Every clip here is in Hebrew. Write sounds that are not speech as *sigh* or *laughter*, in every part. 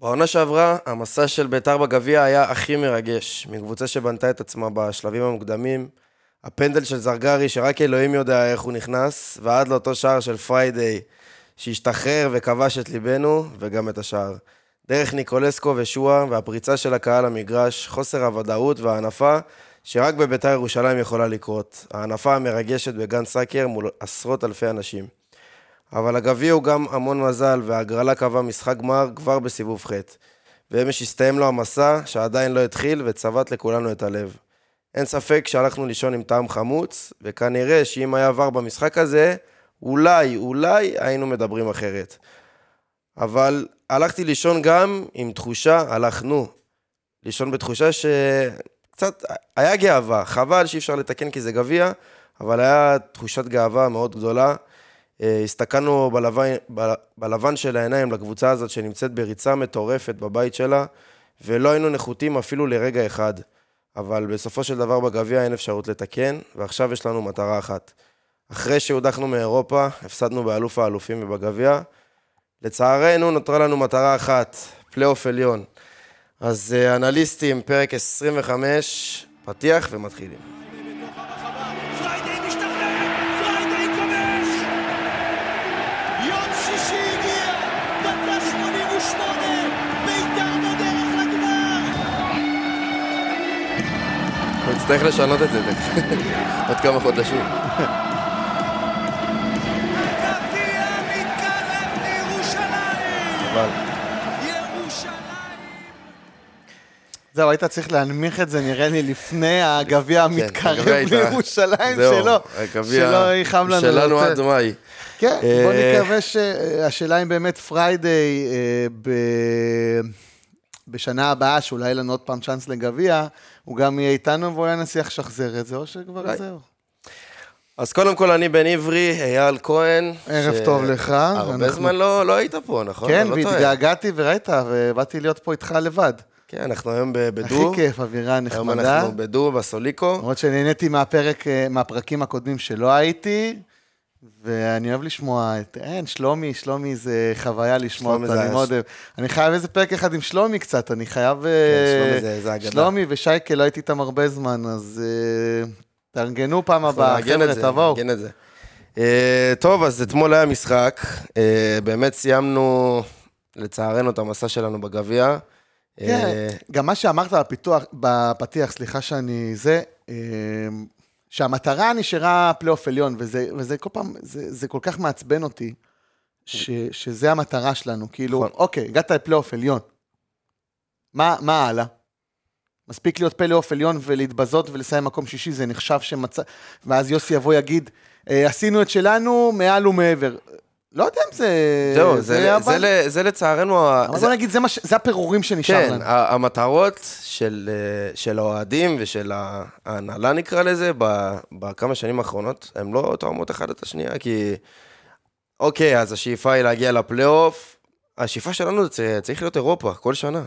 בעונה שעברה, המסע של בית"ר בגביע היה הכי מרגש, מקבוצה שבנתה את עצמה בשלבים המוקדמים. הפנדל של זרגרי, שרק אלוהים יודע איך הוא נכנס, ועד לאותו שער של פריידיי, שהשתחרר וכבש את ליבנו, וגם את השער. דרך ניקולסקו ושועה, והפריצה של הקהל למגרש, חוסר הוודאות והענפה, שרק בבית"ר ירושלים יכולה לקרות. הענפה המרגשת בגן סאקר מול עשרות אלפי אנשים. אבל הגביע הוא גם המון מזל, וההגרלה קבעה משחק גמר כבר בסיבוב ח'. ואמש הסתיים לו המסע, שעדיין לא התחיל, וצבט לכולנו את הלב. אין ספק שהלכנו לישון עם טעם חמוץ, וכנראה שאם היה עבר במשחק הזה, אולי, אולי היינו מדברים אחרת. אבל הלכתי לישון גם עם תחושה, הלכנו. לישון בתחושה שקצת, היה גאווה, חבל שאי אפשר לתקן כי זה גביע, אבל היה תחושת גאווה מאוד גדולה. אה, הסתכלנו בלבן, ב- בלבן של העיניים לקבוצה הזאת שנמצאת בריצה מטורפת בבית שלה, ולא היינו נחותים אפילו לרגע אחד. אבל בסופו של דבר בגביע אין אפשרות לתקן, ועכשיו יש לנו מטרה אחת. אחרי שהודחנו מאירופה, הפסדנו באלוף האלופים ובגביע. לצערנו נותרה לנו מטרה אחת, פלייאוף עליון. אז אה, אנליסטים, פרק 25, פתיח ומתחילים. בתוך הרחבה, פריידי משתחרר! פריידי כובש! יום שישי הגיע, דקה 88, בית"ר בדרך לגמר! הוא יצטרך לשנות את זה תכף. עוד כמה חודשים. הגביע מתקרב לירושלים! אבל... ירושלים! זהו, היית צריך להנמיך את זה, נראה לי, לפני הגביע המתקרב כן, הגביע הייתה- לירושלים זהו, שלו. הגביע שלא יכאב לנו. שלנו יותר. עד מאי. כן, בוא אה, נקווה שהשאלה אם באמת פריידיי אה, ב- בשנה הבאה, שאולי יהיה לנו עוד פעם צ'אנס לגביע, הוא גם יהיה איתנו ואולי נצליח לשחזר את זה, או אולי. שכבר זהו. אז קודם כל, אני בן עברי, אייל כהן. ערב טוב לך, הרבה אנחנו- זמן לא לא היית פה, נכון? כן, אני לא טועה. והתגעגעתי וראית, ובאתי להיות פה איתך לבד. כן, אנחנו היום ב- הכי בדו. כיף, אווירה היום נחמדה. אנחנו בדו, בסוליקו. למרות שנהניתי מהפרק, אה, מהפרקים הקודמים שלא הייתי, ואני אוהב לשמוע את... אין, שלומי, שלומי זה חוויה לשמוע שלומי זה אותו, אני היה- כן, מאוד אוהב. אני חייב איזה פרק אחד עם שלומי קצת, אני חייב... אה, שלומי זה- זה אגדה. שלומי ושייקה, לא הייתי איתם הרבה זמן, אז אה, תארגנו פעם אנחנו הבאה, נארגן את חבר'ה, זה, תבואו. נארגן את זה. אה, טוב, אז אתמול היה משחק. אה, באמת סיימנו, לצערנו, את המסע שלנו בגביע. כן, אה, גם מה שאמרת בפיתוח, בפתיח, סליחה שאני זה, אמ, שהמטרה נשארה פלייאוף עליון, וזה, וזה כל פעם, זה, זה כל כך מעצבן אותי, ש, שזה המטרה שלנו, כאילו, נכון. אוקיי, הגעת לפלייאוף עליון, מה, מה הלאה? מספיק להיות פלייאוף עליון ולהתבזות ולסיים מקום שישי, זה נחשב שמצא... ואז יוסי יבוא יגיד, "אה, עשינו את שלנו מעל ומעבר. לא יודע אם אה, זה... זהו, זה- אבל- זה ל- זה לצערנו... ה- אבל זה- בוא נגיד, זה, מה ש- זה הפירורים שנשאר כן, לנו. ה- המטרות של, אה, של האוהדים ושל ה- ההנהלה נקרא לזה, ב- בכמה שנים האחרונות, הן לא תואמות אחת את השנייה, כי אוקיי, אז השאיפה היא להגיע לפלייאוף, השאיפה שלנו זה צ- צריך להיות אירופה, כל שנה.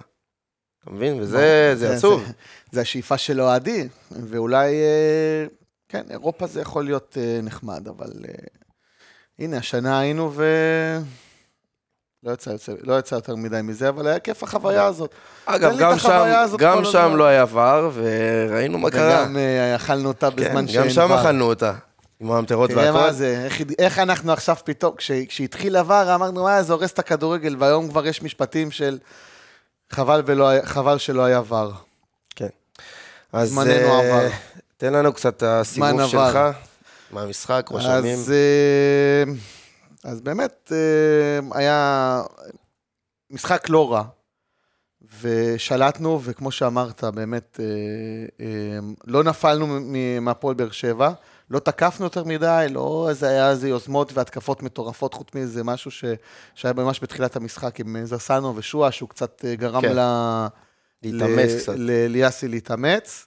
אתה מבין? וזה זה זה- עצוב. זה- זה השאיפה של אוהדי, ואולי, אה, כן, אירופה זה יכול להיות אה, נחמד, אבל אה, הנה, השנה היינו ו... לא יצא, יוצא, לא יצא יותר מדי מזה, אבל היה כיף החוויה הזאת. אגב, לי את גם שם, החוויה הזאת גם כל שם הזמן. לא היה עבר, וראינו מה קרה. וגם אה, אכלנו אותה כן, בזמן שאין גם שם ור. אכלנו אותה, עם הממטרות תראה מה והכל. זה, איך, איך אנחנו עכשיו פתאום, כש, כשהתחיל עבר, אמרנו, אה, זה הורס את הכדורגל, והיום כבר יש משפטים של חבל, ולא, היה- חבל שלא היה ור. כן. אז זמננו אה, עבר. תן לנו קצת את הסיבוב זמן שלך, עבר. מהמשחק, רושמים. אז, אה, אז באמת אה, היה משחק לא רע, ושלטנו, וכמו שאמרת, באמת אה, אה, לא נפלנו מ- מ- מהפועל באר שבע, לא תקפנו יותר מדי, לא איזה היה איזה יוזמות והתקפות מטורפות, חוץ מאיזה משהו ש, שהיה ממש בתחילת המשחק עם אה, זסנו ושועה, שהוא קצת אה, גרם כן. כן. ל... להתאמץ ל- קצת. ל- ליאסי להתאמץ.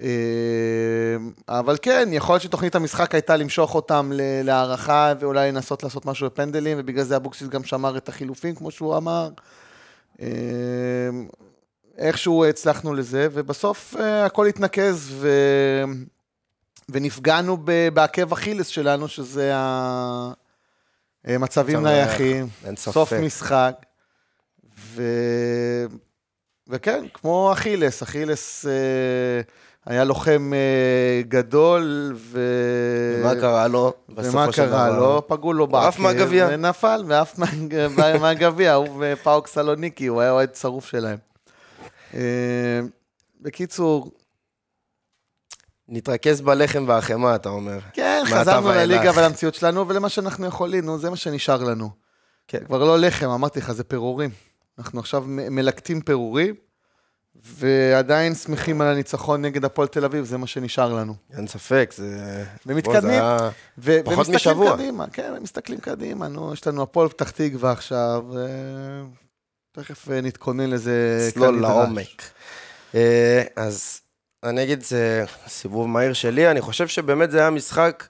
אה, אבל כן, יכול להיות שתוכנית המשחק הייתה למשוך אותם ל- להערכה ואולי לנסות לעשות משהו בפנדלים, ובגלל זה אבוקסיס גם שמר את החילופים, כמו שהוא אמר. אה, איכשהו הצלחנו לזה, ובסוף אה, הכל התנקז, ו... ונפגענו ב- בעקב אכילס שלנו, שזה המצבים מצב נייח, נייחים. אין סוף ספק. משחק. ו... ו... וכן, כמו אכילס, אכילס אה, היה לוחם אה, גדול, ו... ומה קרה לו? ומה בסופו של קרה דבר? לו? פגעו לו בעקב. עף מהגביע. ונפל, ועף מה- *laughs* מהגביע, הוא ופאוק סלוניקי, הוא היה אוהד שרוף שלהם. אה, בקיצור, נתרכז בלחם והחמאה, אתה אומר. כן, מעתה חזרנו ואילך. לליגה ולמציאות שלנו, ולמה שאנחנו יכולים, נו, זה מה שנשאר לנו. כן. כן. כבר לא לחם, אמרתי לך, זה פירורים. אנחנו עכשיו מ- מלקטים פירורים, ועדיין שמחים על הניצחון נגד הפועל תל אביב, זה מה שנשאר לנו. אין ספק, זה... ומתקדמים. בוא, זה היה- ו- פחות ומסתכלים משבוע. קדימה, כן, מסתכלים קדימה, נו, יש לנו הפועל פתח תקווה עכשיו, אה, תכף אה, נתכונן לזה צלול כנדרש. לעומק. אה, אז אני אגיד, זה סיבוב מהיר שלי, אני חושב שבאמת זה היה משחק,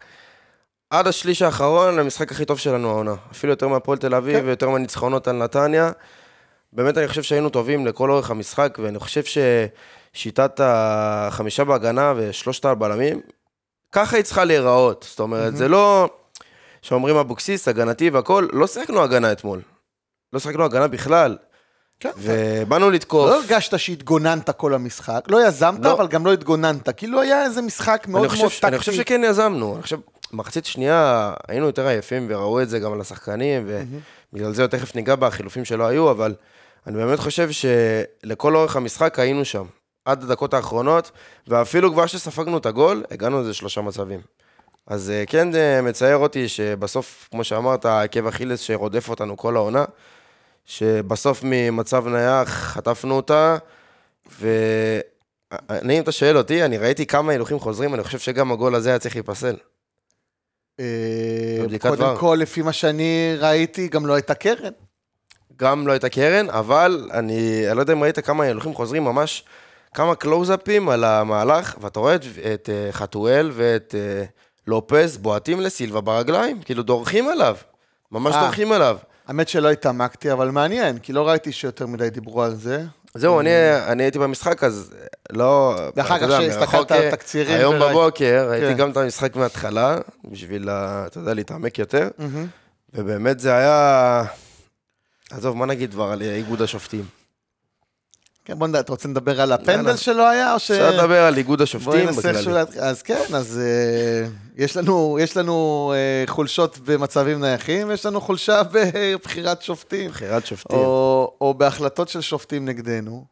עד השליש האחרון, המשחק הכי טוב שלנו העונה. אפילו יותר מהפועל תל אביב כן. ויותר מהניצחונות על נתניה. באמת אני חושב שהיינו טובים לכל אורך המשחק, ואני חושב ששיטת החמישה בהגנה ושלושת הבלמים, ככה היא צריכה להיראות. זאת אומרת, זה לא... שאומרים אבוקסיס, הגנתי והכול, לא שיחקנו הגנה אתמול. לא שיחקנו הגנה בכלל, כן. ובאנו לתקוף. לא הרגשת שהתגוננת כל המשחק, לא יזמת, לא. אבל גם לא התגוננת, כאילו היה איזה משחק מאוד אני מאוד חושב, טקטי. אני חושב שכן יזמנו. אני חושב, מחצית שנייה היינו יותר עייפים וראו את זה גם על השחקנים, ובגלל זה תכף ניגע בחילופים שלא היו, אבל אני באמת חושב שלכל אורך המשחק היינו שם, עד הדקות האחרונות, ואפילו כבר שספגנו את הגול, הגענו לאיזה שלושה מצבים. אז אה, כן אה, מצער אותי שבסוף, כמו שאמרת, עקב אכילס שרודף אותנו כל העונה, שבסוף ממצב נייח חטפנו אותה, ו... אני, אם אתה שואל אותי, אני ראיתי כמה הילוכים חוזרים, אני חושב שגם הגול הזה היה צריך להיפסל. אה, בבדיקת קודם VAR. כל, לפי מה שאני ראיתי, גם לא הייתה קרן. גם לא הייתה קרן, אבל אני, אני לא יודע אם ראית כמה הילוכים חוזרים, ממש כמה קלוזאפים על המהלך, ואתה רואה את, את אה, חתואל ואת אה, לופז בועטים לסילבה ברגליים, כאילו דורכים עליו, ממש אה. דורכים עליו. האמת שלא התעמקתי, אבל מעניין, כי לא ראיתי שיותר מדי דיברו על זה. זהו, אני, אה. אני הייתי במשחק, אז לא... ואחר אתה כך יודע, שהסתכלת מרחוק, על התקצירים היום וראית. בבוקר ראיתי כן. גם את המשחק מההתחלה, בשביל, ה- אתה יודע, להתעמק יותר. ובאמת זה היה... עזוב, מה נגיד כבר על איגוד השופטים? כן, בוא נדע, אתה רוצה לדבר על יאללה. הפנדל שלא היה, או ש... אפשר לדבר על איגוד בוא השופטים ננסה בכללי. איכשהו להתחיל. אז כן, אז אה, יש לנו, יש לנו אה, חולשות במצבים נייחים, יש לנו חולשה *laughs* בבחירת שופטים. בחירת שופטים. או, או בהחלטות של שופטים נגדנו.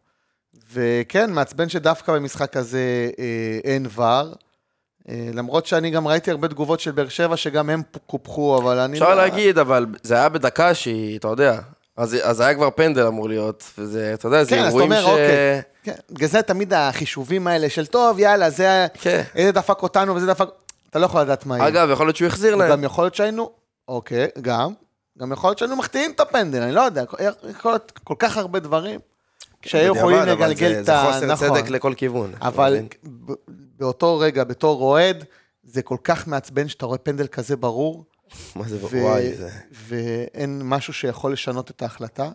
וכן, מעצבן שדווקא במשחק הזה אה, אין ור. אה, למרות שאני גם ראיתי הרבה תגובות של באר שבע, שגם הם פ- קופחו, אבל אני... אפשר לא- להגיד, אבל זה היה בדקה שהיא, אתה יודע, אז אז היה כבר פנדל אמור להיות, וזה, אתה יודע, זה כן, אז אתה אירועים אומר, ש... אוקיי. כן, בגלל זה תמיד החישובים האלה של טוב, יאללה, זה... כן. איזה דפק אותנו וזה דפק... אתה לא יכול לדעת מה יהיה. אגב, יכול להיות שהוא החזיר להם. גם יכול להיות שהיינו, אוקיי, גם. גם יכול להיות שהיינו מחטיאים את הפנדל, אני לא יודע. יכול להיות כל כך הרבה דברים שהיו כן, בדיעבד, יכולים אבל לגלגל זה- את ה... זה חוסר נכון. צדק לכל כיוון. אתה אבל מבין? ב- באותו רגע, בתור אוהד, זה כל כך מעצבן שאתה רואה פנדל כזה ברור, מה זה, ו- וואי, זה... ואין משהו שיכול לשנות את ההחלטה.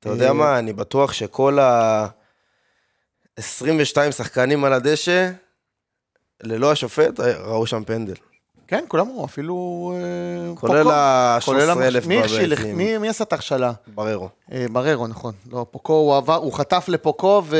אתה יודע אה, מה, אני בטוח שכל ה... 22 שחקנים על הדשא, ללא השופט, ראו שם פנדל. כן, כולם אמרו, אפילו... אה, כולל פוקו. כולל המש- ה-13,000 מי הכשיל? מי- מי עשה את ההכשלה? בררו. אה, בררו, נכון. לא, פוקו, הוא עבר, הוא חטף לפוקו, ו...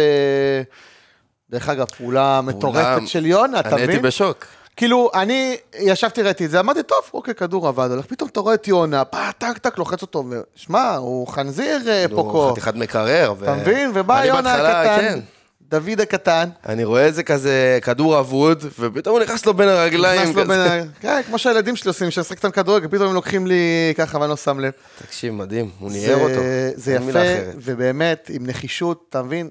דרך אגב, פעולה מטורפת של יונה, אתה אני הייתי מבין? בשוק. כאילו, אני ישבתי, ראיתי את זה, אמרתי, טוב, אוקיי, כדור עבד, הולך, פתאום אתה רואה את יונה, פא, טק, טק, לוחץ אותו, ושמע, הוא חנזיר אה, הוא פוקו. חתיכת מקרר. ו- אתה מבין? ובא אה, אני יונה בהתחלה, הקטן, כן. דוד הקטן, אני רואה איזה כזה כדור אבוד, ופתאום הוא נכנס לו בין הרגליים. נכנס לו כזה. בין ה... כן, כמו שהילדים שלי עושים, כשאני משחק איתם כדורגל, פתאום הם לוקחים לי ככה ואני לא שם לב. תקשיב, מדהים, הוא זה- ניער אותו. זה אין מילה יפה, אחרת. ובאמת, עם נחישות, אתה מבין?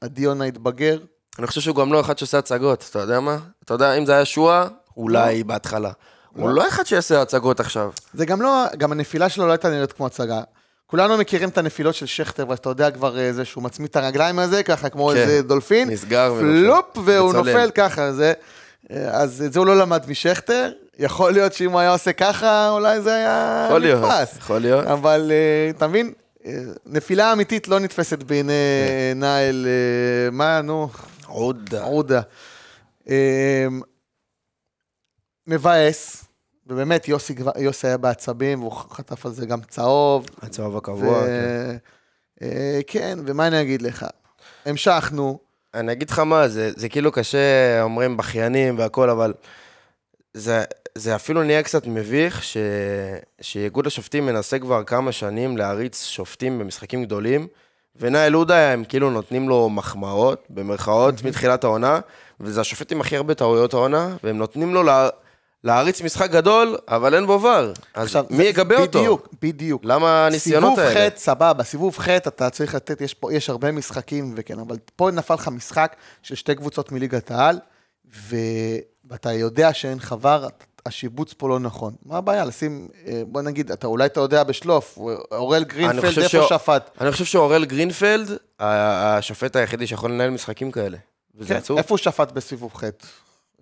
עדי יונה התבגר, אני חושב שהוא גם לא אחד שעושה הצגות, אתה יודע מה? אתה יודע, אם זה היה שועה, אולי לא. בהתחלה. הוא לא אחד שיעשה הצגות עכשיו. זה גם לא, גם הנפילה שלו לא הייתה נראית כמו הצגה. כולנו מכירים את הנפילות של שכטר, ואתה יודע כבר אה, זה שהוא מצמיד את הרגליים הזה, ככה כמו כן. איזה דולפין. נסגר ונופל. פלופ, והוא וצולל. נופל ככה, זה... אה, אז את זה הוא לא למד משכטר. יכול להיות שאם הוא היה עושה ככה, אולי זה היה יכול להיות, נתפס. יכול להיות. אבל אה, אתה מבין? אה, נפילה אמיתית לא נתפסת בעיני כן. נעל, אה, מה, נו, עודה. עודה. אה, מבאס, ובאמת יוסי, כבר- יוסי היה בעצבים, והוא חטף על זה גם צהוב. הצהוב ו- הקבוע. כן. אה, כן, ומה אני אגיד לך? המשכנו, אני אגיד לך מה, זה, זה כאילו קשה, אומרים בכיינים והכל, אבל זה, זה אפילו נהיה קצת מביך ש, שאיגוד השופטים מנסה כבר כמה שנים להריץ שופטים במשחקים גדולים, ונאל עודה, הם כאילו נותנים לו מחמאות, במרכאות, מתחילת העונה, וזה השופט עם הכי הרבה טעויות העונה, והם נותנים לו לה, להריץ משחק גדול, אבל אין בו ור. אז עכשיו, מי יגבה אותו? בדיוק, בדיוק. למה הניסיונות האלה? סיבוב ח', סבבה, סיבוב ח', אתה צריך לתת, יש, פה, יש הרבה משחקים וכן, אבל פה נפל לך משחק של שתי קבוצות מליגת העל, ו- ואתה יודע שאין לך ור, הת- השיבוץ פה לא נכון. מה הבעיה? לשים, אה, בוא נגיד, אתה אולי אתה יודע בשלוף, אורל גרינפלד, חושב איפה שה- שפט? אני חושב שאורל גרינפלד, ה- השופט היחידי שיכול לנהל משחקים כאלה. וזה כן, עצוב. איפה הוא שפט בסיבוב ח'?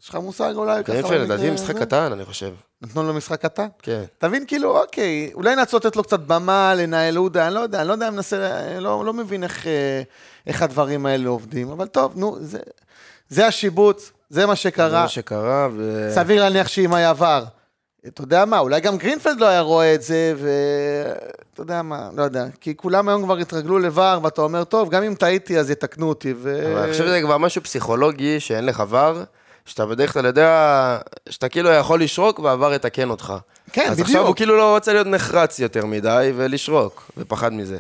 יש לך מושג אולי? ככה, גרינפלד, לדעתי אה, משחק זה? קטן, אני חושב. נתנו לו משחק קטן? כן. תבין, כאילו, אוקיי, אולי נעצור לתת לו קצת במה, לנהל עודה, אני לא יודע, אני לא יודע, אני מנסה, אני לא, לא מבין איך, אה, איך הדברים האלה עובדים, אבל טוב, נו, זה, זה השיבוץ, זה מה זה שקרה, מה שקרה, ו... סביר להניח שאם היה עבר. אתה יודע מה, אולי גם גרינפלד לא היה רואה את זה, ו... אתה יודע מה, לא יודע. כי כולם היום כבר התרגלו לVAR, ואתה אומר, טוב, גם אם טעיתי, אז יתקנו אותי, ו... אבל אני חושב שזה כבר משהו פסיכולוגי שאין לך ור, שאתה בדרך כלל יודע, שאתה כאילו יכול לשרוק והוור יתקן אותך. כן, אז עכשיו בדיוק. הוא כאילו לא רוצה להיות נחרץ יותר מדי ולשרוק, ופחד מזה.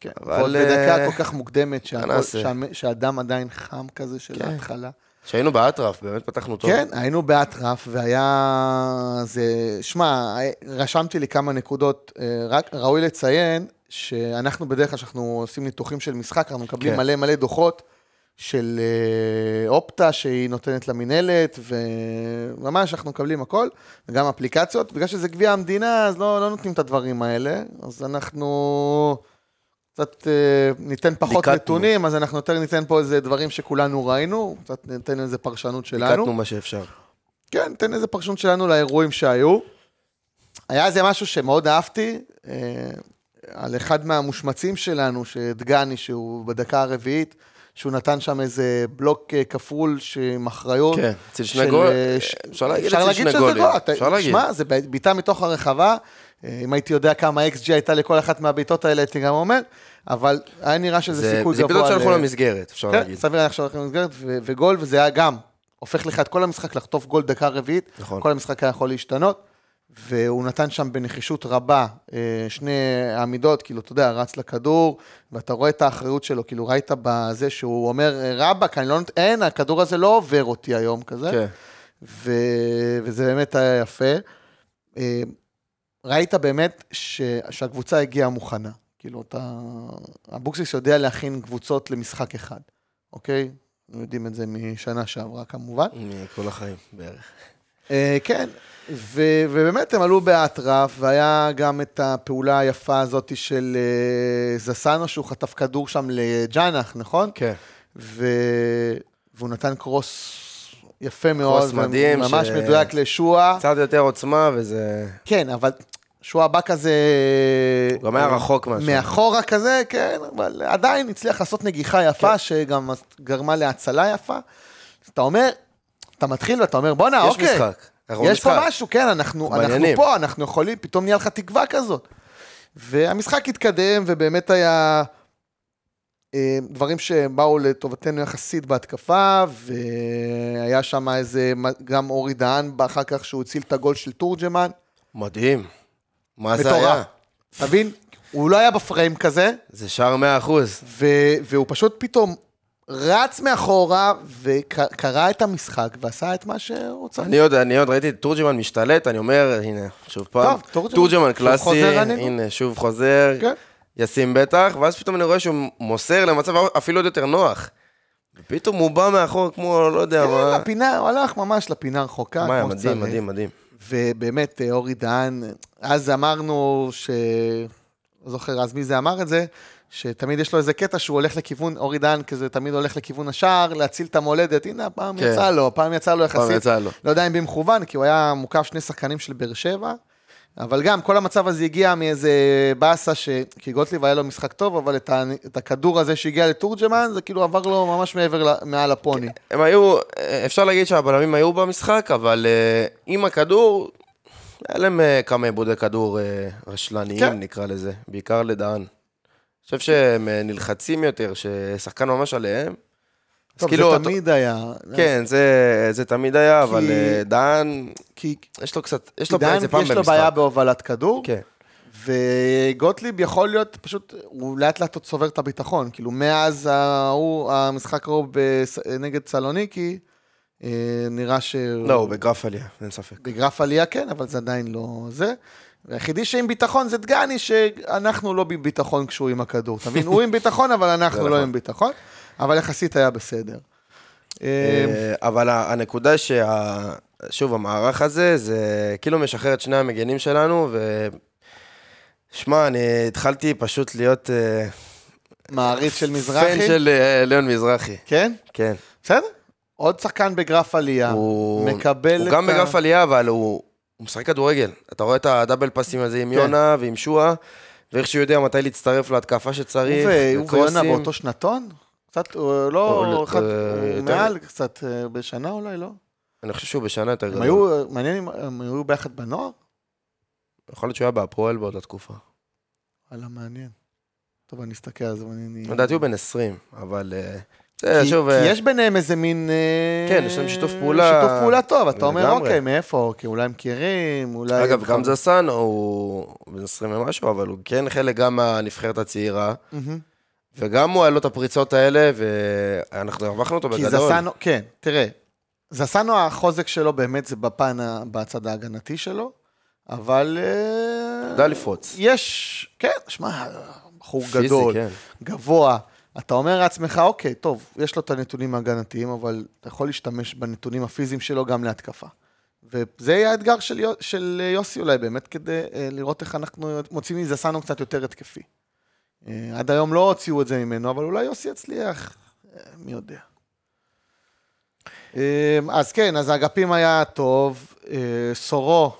כן, אבל, ועוד אה, בדקה כל כך מוקדמת, שהכל- נעשה? כן. שהמ- שהדם עדיין חם כזה של ההתחלה. כשהיינו באטרף, באמת פתחנו טוב. כן, היינו באטרף, והיה... זה... שמע, רשמתי לי כמה נקודות. אה, רק ראוי לציין שאנחנו בדרך כלל, כשאנחנו עושים ניתוחים של משחק, אנחנו מקבלים כן. מלא מלא דוחות של אה, אופטה שהיא נותנת למינהלת, וממש אנחנו מקבלים הכל, וגם אפליקציות. בגלל שזה גביע המדינה, אז לא, לא נותנים את הדברים האלה, אז אנחנו... קצת אה, ניתן פחות ליקטנו. נתונים, אז אנחנו יותר ניתן פה איזה דברים שכולנו ראינו, קצת ניתן איזה פרשנות שלנו. ליקטנו מה שאפשר. כן, תן איזה פרשנות שלנו לאירועים שהיו. היה איזה משהו שמאוד אהבתי, אה, על אחד מהמושמצים שלנו, שדגני, שהוא בדקה הרביעית, שהוא נתן שם איזה בלוק אה, כפול עם אחריות. כן, אצל שני של, גול- אה, ש- אפשר להגיד אצל שני שזה גולים. גול, אתה- אפשר להגיד. שמע, זה בעיטה מתוך הרחבה. אה, אם הייתי יודע כמה אקס ג'י הייתה לכל אחת מהבעיטות האלה, הייתי גם אומר, אבל היה נראה שזה זה סיכוי זה גבוה. פתאום שהלכו ל- למסגרת, אפשר כן, להגיד. סביר היה עכשיו הולכים למסגרת, ו- וגול, וזה היה גם, הופך לך את כל המשחק לחטוף גול דקה רביעית, נכון. כל המשחק היה יכול להשתנות, והוא נתן שם בנחישות רבה אה, שני עמידות, כאילו, אתה יודע, רץ לכדור, ואתה רואה את האחריות שלו, כאילו, ראית בזה שהוא אומר, רבאק, אני לא נת... אין, הכדור הזה לא עובר אותי היום, כזה. כן. ו... וזה באמת היה יפה. אה, ראית באמת ש... שהקבוצה הגיעה מוכנה. כאילו, אתה... אבוקסיס יודע להכין קבוצות למשחק אחד, אוקיי? אנחנו יודעים את זה משנה שעברה כמובן. מכל החיים בערך. אה, כן, ו- ובאמת הם עלו באטרף, והיה גם את הפעולה היפה הזאת של אה, זסנו, שהוא חטף כדור שם לג'אנח, נכון? כן. ו... והוא נתן קרוס יפה מאוד. מדהים ממש ש- מדויק לשועה. קצת יותר עוצמה וזה... כן, אבל שועה בא כזה... אה, הוא גם היה רחוק משהו. מאחורה כזה, כן, אבל עדיין הצליח לעשות נגיחה יפה, כן. שגם גרמה להצלה יפה. אז אתה אומר, אתה מתחיל ואתה אומר, בואנה, יש אוקיי. משחק. אנחנו יש פה במשחק." משהו, כן, אנחנו, אנחנו אנחנו בעניינים. פה, אנחנו יכולים, פתאום נהיה לך תקווה כזאת. והמשחק התקדם, ובאמת היה אה, דברים שבאו לטובתנו יחסית בהתקפה, והיה שם איזה, גם אורי דהן, אחר כך שהוא הציל את הגול של תורג'מן. מדהים. מה זה מטורף. היה? אתה מבין? הוא לא היה בפריים כזה, זה שער 100%. ו- והוא פשוט פתאום רץ מאחורה, וקרא את המשחק, ועשה את מה שהוא צריך. אני עוד, אני עוד ראיתי את תורג'מן משתלט, אני אומר, הנה, שוב פעם. טוב, תורג'מן. תורג'מן שוב קלאסי, חוזר עלינו. הנה, שוב חוזר, כן. ישים בטח, ואז פתאום אני רואה שהוא מוסר למצב אפילו עוד יותר נוח. ופתאום הוא בא מאחור כמו, לא יודע כן, מה. לפינה, הוא הלך ממש לפינה הרחוקה, מה, כמו שצריך. מדהים, מדהים, מדהים. ובאמת, אה, אורי דהן, אז אמרנו ש... לא זוכר אז מי זה אמר את זה, שתמיד יש לו איזה קטע שהוא הולך לכיוון, אורי דהן כזה תמיד הולך לכיוון השער, להציל את המולדת. הנה, הפעם כן. יצא לו, הפעם יצא לו יחסית. פעם יצא לו. לא יודע אם במכוון, כי הוא היה מוקף שני שחקנים של באר שבע, אבל גם כל המצב הזה הגיע מאיזה באסה, ש... כי גוטליב היה לו משחק טוב, אבל את, ה... את הכדור הזה שהגיע לתורג'מן, זה כאילו עבר לו ממש מעבר, ל... מעל הפוני. הם היו, אפשר להגיד שהבלמים היו במשחק, אבל אה, עם הכדור, היה להם אה, כמה עיבודי כדור אה, רשלניים, כן. נקרא לזה. בעיקר לדהן. חושב שהם אה, נלחצים יותר, ששחקן ממש עליהם. אז טוב, כאילו, זה אותו- תמיד היה. כן, זה, זה תמיד היה, אה. כי- אבל אה, דהן, כי יש לו קצת, יש כי לו בעיה דן, איזה פעם יש במשחק. לו בעיה בהובלת כדור, כן. וגוטליב יכול להיות, פשוט, הוא לאט לאט עוד צובר את הביטחון. כאילו, מאז ההוא, המשחק ההוא בס- נגד סלוניקי, אה, נראה ש... לא, הוא בגרף עלייה, אין ספק. בגרף עלייה כן, אבל זה עדיין לא זה. והיחידי שעם ביטחון זה דגני, שאנחנו לא בביטחון כשהוא עם הכדור, אתה מבין? הוא עם ביטחון, אבל זה אנחנו לא נכון. עם ביטחון, אבל יחסית היה בסדר. אה, אה, אבל ה- הנקודה שה... שוב, המערך הזה, זה כאילו משחרר את שני המגנים שלנו, ו... שמע, אני התחלתי פשוט להיות... אה, מעריץ של מזרחי, פן של אה, ליאון מזרחי, כן? כן. בסדר. עוד שחקן בגרף עלייה, הוא מקבל הוא את גם ה- בגרף עלייה, אבל הוא הוא משחק כדורגל. אתה רואה את הדאבל פאסים הזה כן. עם יונה ועם שועה, ואיך שהוא יודע מתי להצטרף להתקפה שצריך, הוא ו- הוא ויונה וקרוסים. באותו שנתון? קצת, הוא לא, הוא- אחד- אה, הוא יותר- מעל קצת, אה, בשנה אולי, לא? אני חושב שהוא בשנה יותר הם גדול. היו, מעניין אם הם היו ביחד בנוער? יכול להיות שהוא היה בהפועל באותה תקופה. וואלה, מעניין. טוב, אני אסתכל על זה, אני... לדעתי הוא בן 20, אבל... אה, זה, כי, שוב... כי אה, יש ביניהם איזה מין... אה, כן, יש להם שיתוף פעולה. שיתוף פעולה טוב, אתה אומר, לגמרי. אוקיי, מאיפה? כי אולי הם מכירים, אולי... אגב, גם זסן הוא בן 20 ומשהו, אבל הוא כן חלק גם מהנבחרת הצעירה, מהמם. וגם הוא היה לו את הפריצות האלה, ואנחנו הרווחנו אותו כי בגדול. זסנו, כן, תראה, זסנו החוזק שלו באמת זה בפן, ה- בצד ההגנתי שלו, אבל... אה, יודע לפרוץ. יש, כן, שמע, בחור פיזי, גדול, כן. גבוה. אתה אומר לעצמך, אוקיי, טוב, יש לו את הנתונים ההגנתיים, אבל אתה יכול להשתמש בנתונים הפיזיים שלו גם להתקפה. וזה יהיה האתגר של, יו, של אה, יוסי אולי, באמת כדי אה, לראות איך אנחנו מוצאים מזסנו קצת יותר התקפי. אה, עד היום לא הוציאו את זה ממנו, אבל אולי יוסי יצליח, אה, מי יודע. אה, אז כן, אז האגפים היה טוב, אה, סורו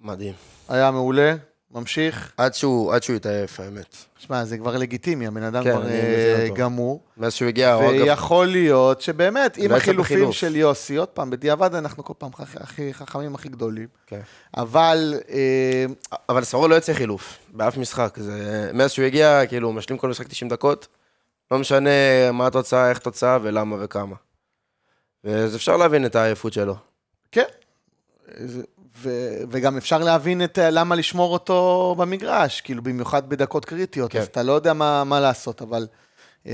מדהים. היה מעולה, ממשיך. עד שהוא, עד שהוא התעייף, האמת. שמע, זה כבר לגיטימי, הבן אדם כן, כבר אני אה, מבין אותו. גמור. מאז שהוא הגיע, הוא אגב... ויכול להיות שבאמת, עם לא יצא החילופים בחילוף. של יוסי, עוד פעם, בדיעבד אנחנו כל פעם הכ- הכי חכמים, הכי גדולים. כן. אבל אה, אבל סורו לא יוצא חילוף, באף משחק. זה... מאז שהוא הגיע, כאילו, הוא משלים כל משחק 90 דקות, לא משנה מה התוצאה, איך התוצאה, ולמה וכמה. אז אפשר להבין את העייפות שלו. כן, זה- ו- וגם אפשר להבין את אה, למה לשמור אותו במגרש, כאילו, במיוחד בדקות קריטיות, כן. אז אתה לא יודע מה מה לעשות, אבל... אה,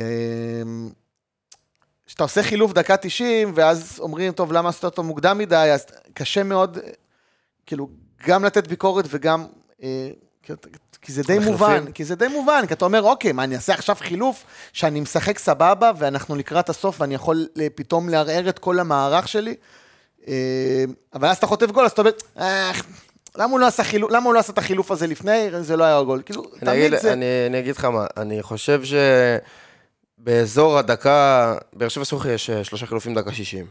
כשאתה עושה חילוף דקה 90, ואז אומרים, טוב, למה עשית אותו מוקדם מדי, אז קשה מאוד, אה, כאילו, גם לתת ביקורת וגם... אה, כי- כי זה די לחילופין. מובן, כי זה די מובן, כי אתה אומר, אוקיי, מה, אני אעשה עכשיו חילוף שאני משחק סבבה, ואנחנו לקראת הסוף, ואני יכול אה, פתאום לערער את כל המערך שלי, אה, אבל אז אתה חוטף גול, אז אתה אומר, "אה, למה הוא לא עשה חילוף- למה הוא לא עשה את החילוף הזה לפני, זה לא היה גול, כאילו, אני אגיד, תמיד זה... אני, אני אגיד לך מה, אני חושב שבאזור הדקה, באר שבע סוכי יש אה, שלושה חילופים דקה 60.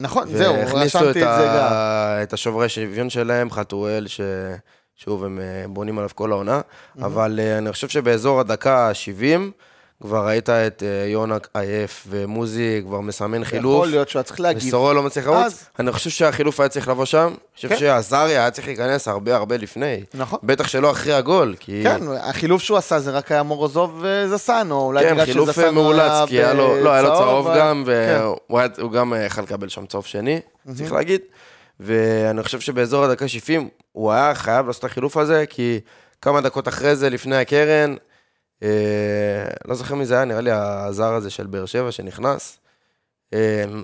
נכון, זהו, והכניסו רשמתי את זה גם. ה... את השוברי שוויון שלהם, חתואל, ששוב, הם אה, בונים עליו כל העונה, אבל אה, אני חושב שבאזור הדקה ה-70, כבר ראית את אה, יונה עייף ומוזי כבר מסמן חילוף, יכול להיות שהוא היה צריך להגיב. וסורו לא מצליח לרוץ. אז- אני חושב שהחילוף היה צריך לבוא שם, אני חושב כן. שעזריה היה צריך להיכנס הרבה הרבה לפני. נכון. בטח שלא אחרי הגול, כי... כן, החילוף שהוא עשה זה רק היה מורוזוב וזסן, או אולי כן, בגלל חילוף שזסן היה מאולץ, כי היה לו, לא, היה לו צהוב אבל- גם, כן. והוא היה- הוא גם אה, יכל לקבל שם צהוב שני, צריך להגיד. ואני חושב שבאזור הדקה 70, הוא היה חייב לעשות את החילוף הזה, כי כמה דקות אחרי זה, לפני הקרן, אה, לא זוכר מי זה היה, נראה לי הזר הזה של באר שבע שנכנס. אה,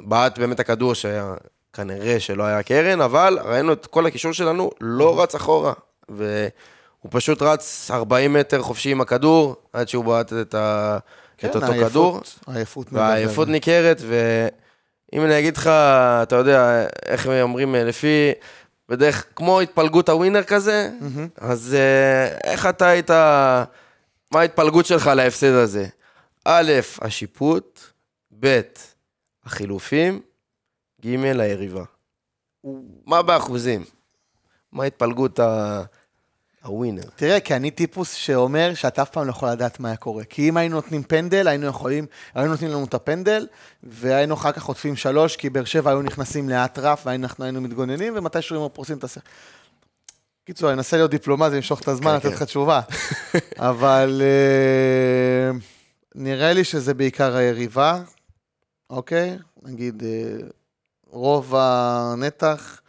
בעט באמת הכדור שהיה, כנראה שלא היה קרן, אבל ראינו את כל הקישור שלנו אוקיי. לא רץ אחורה. והוא פשוט רץ 40 מטר חופשי עם הכדור, עד שהוא בעט את, ה... כן, את אותו העייפות- כדור. העייפות מדברת. והעייפות ניכרת, ואם אני אגיד לך, אתה יודע, איך הם אומרים, אה, לפי, בדרך, כמו התפלגות הווינר כזה, אז אה, איך אתה היית, מה ההתפלגות שלך להפסד הזה? א', השיפוט, ב', החילופים, ג', היריבה. מה באחוזים? מה התפלגות ה... הווינר? תראה, כי אני טיפוס שאומר שאתה אף פעם לא יכול לדעת מה היה קורה. כי אם היינו נותנים פנדל, היינו יכולים, היינו נותנים לנו את הפנדל, והיינו אחר כך חוטפים שלוש, כי באר שבע היו נכנסים לאט רף, ואנחנו היינו מתגוננים, ומתישהו היינו פורסים את הסך. קיצור, אני אנסה להיות דיפלומט, אני אמשוך את הזמן, כן, לתת כן. *laughs* לך תשובה. אבל אה, נראה לי שזה בעיקר היריבה, אוקיי? נגיד, אה, רוב הנתח,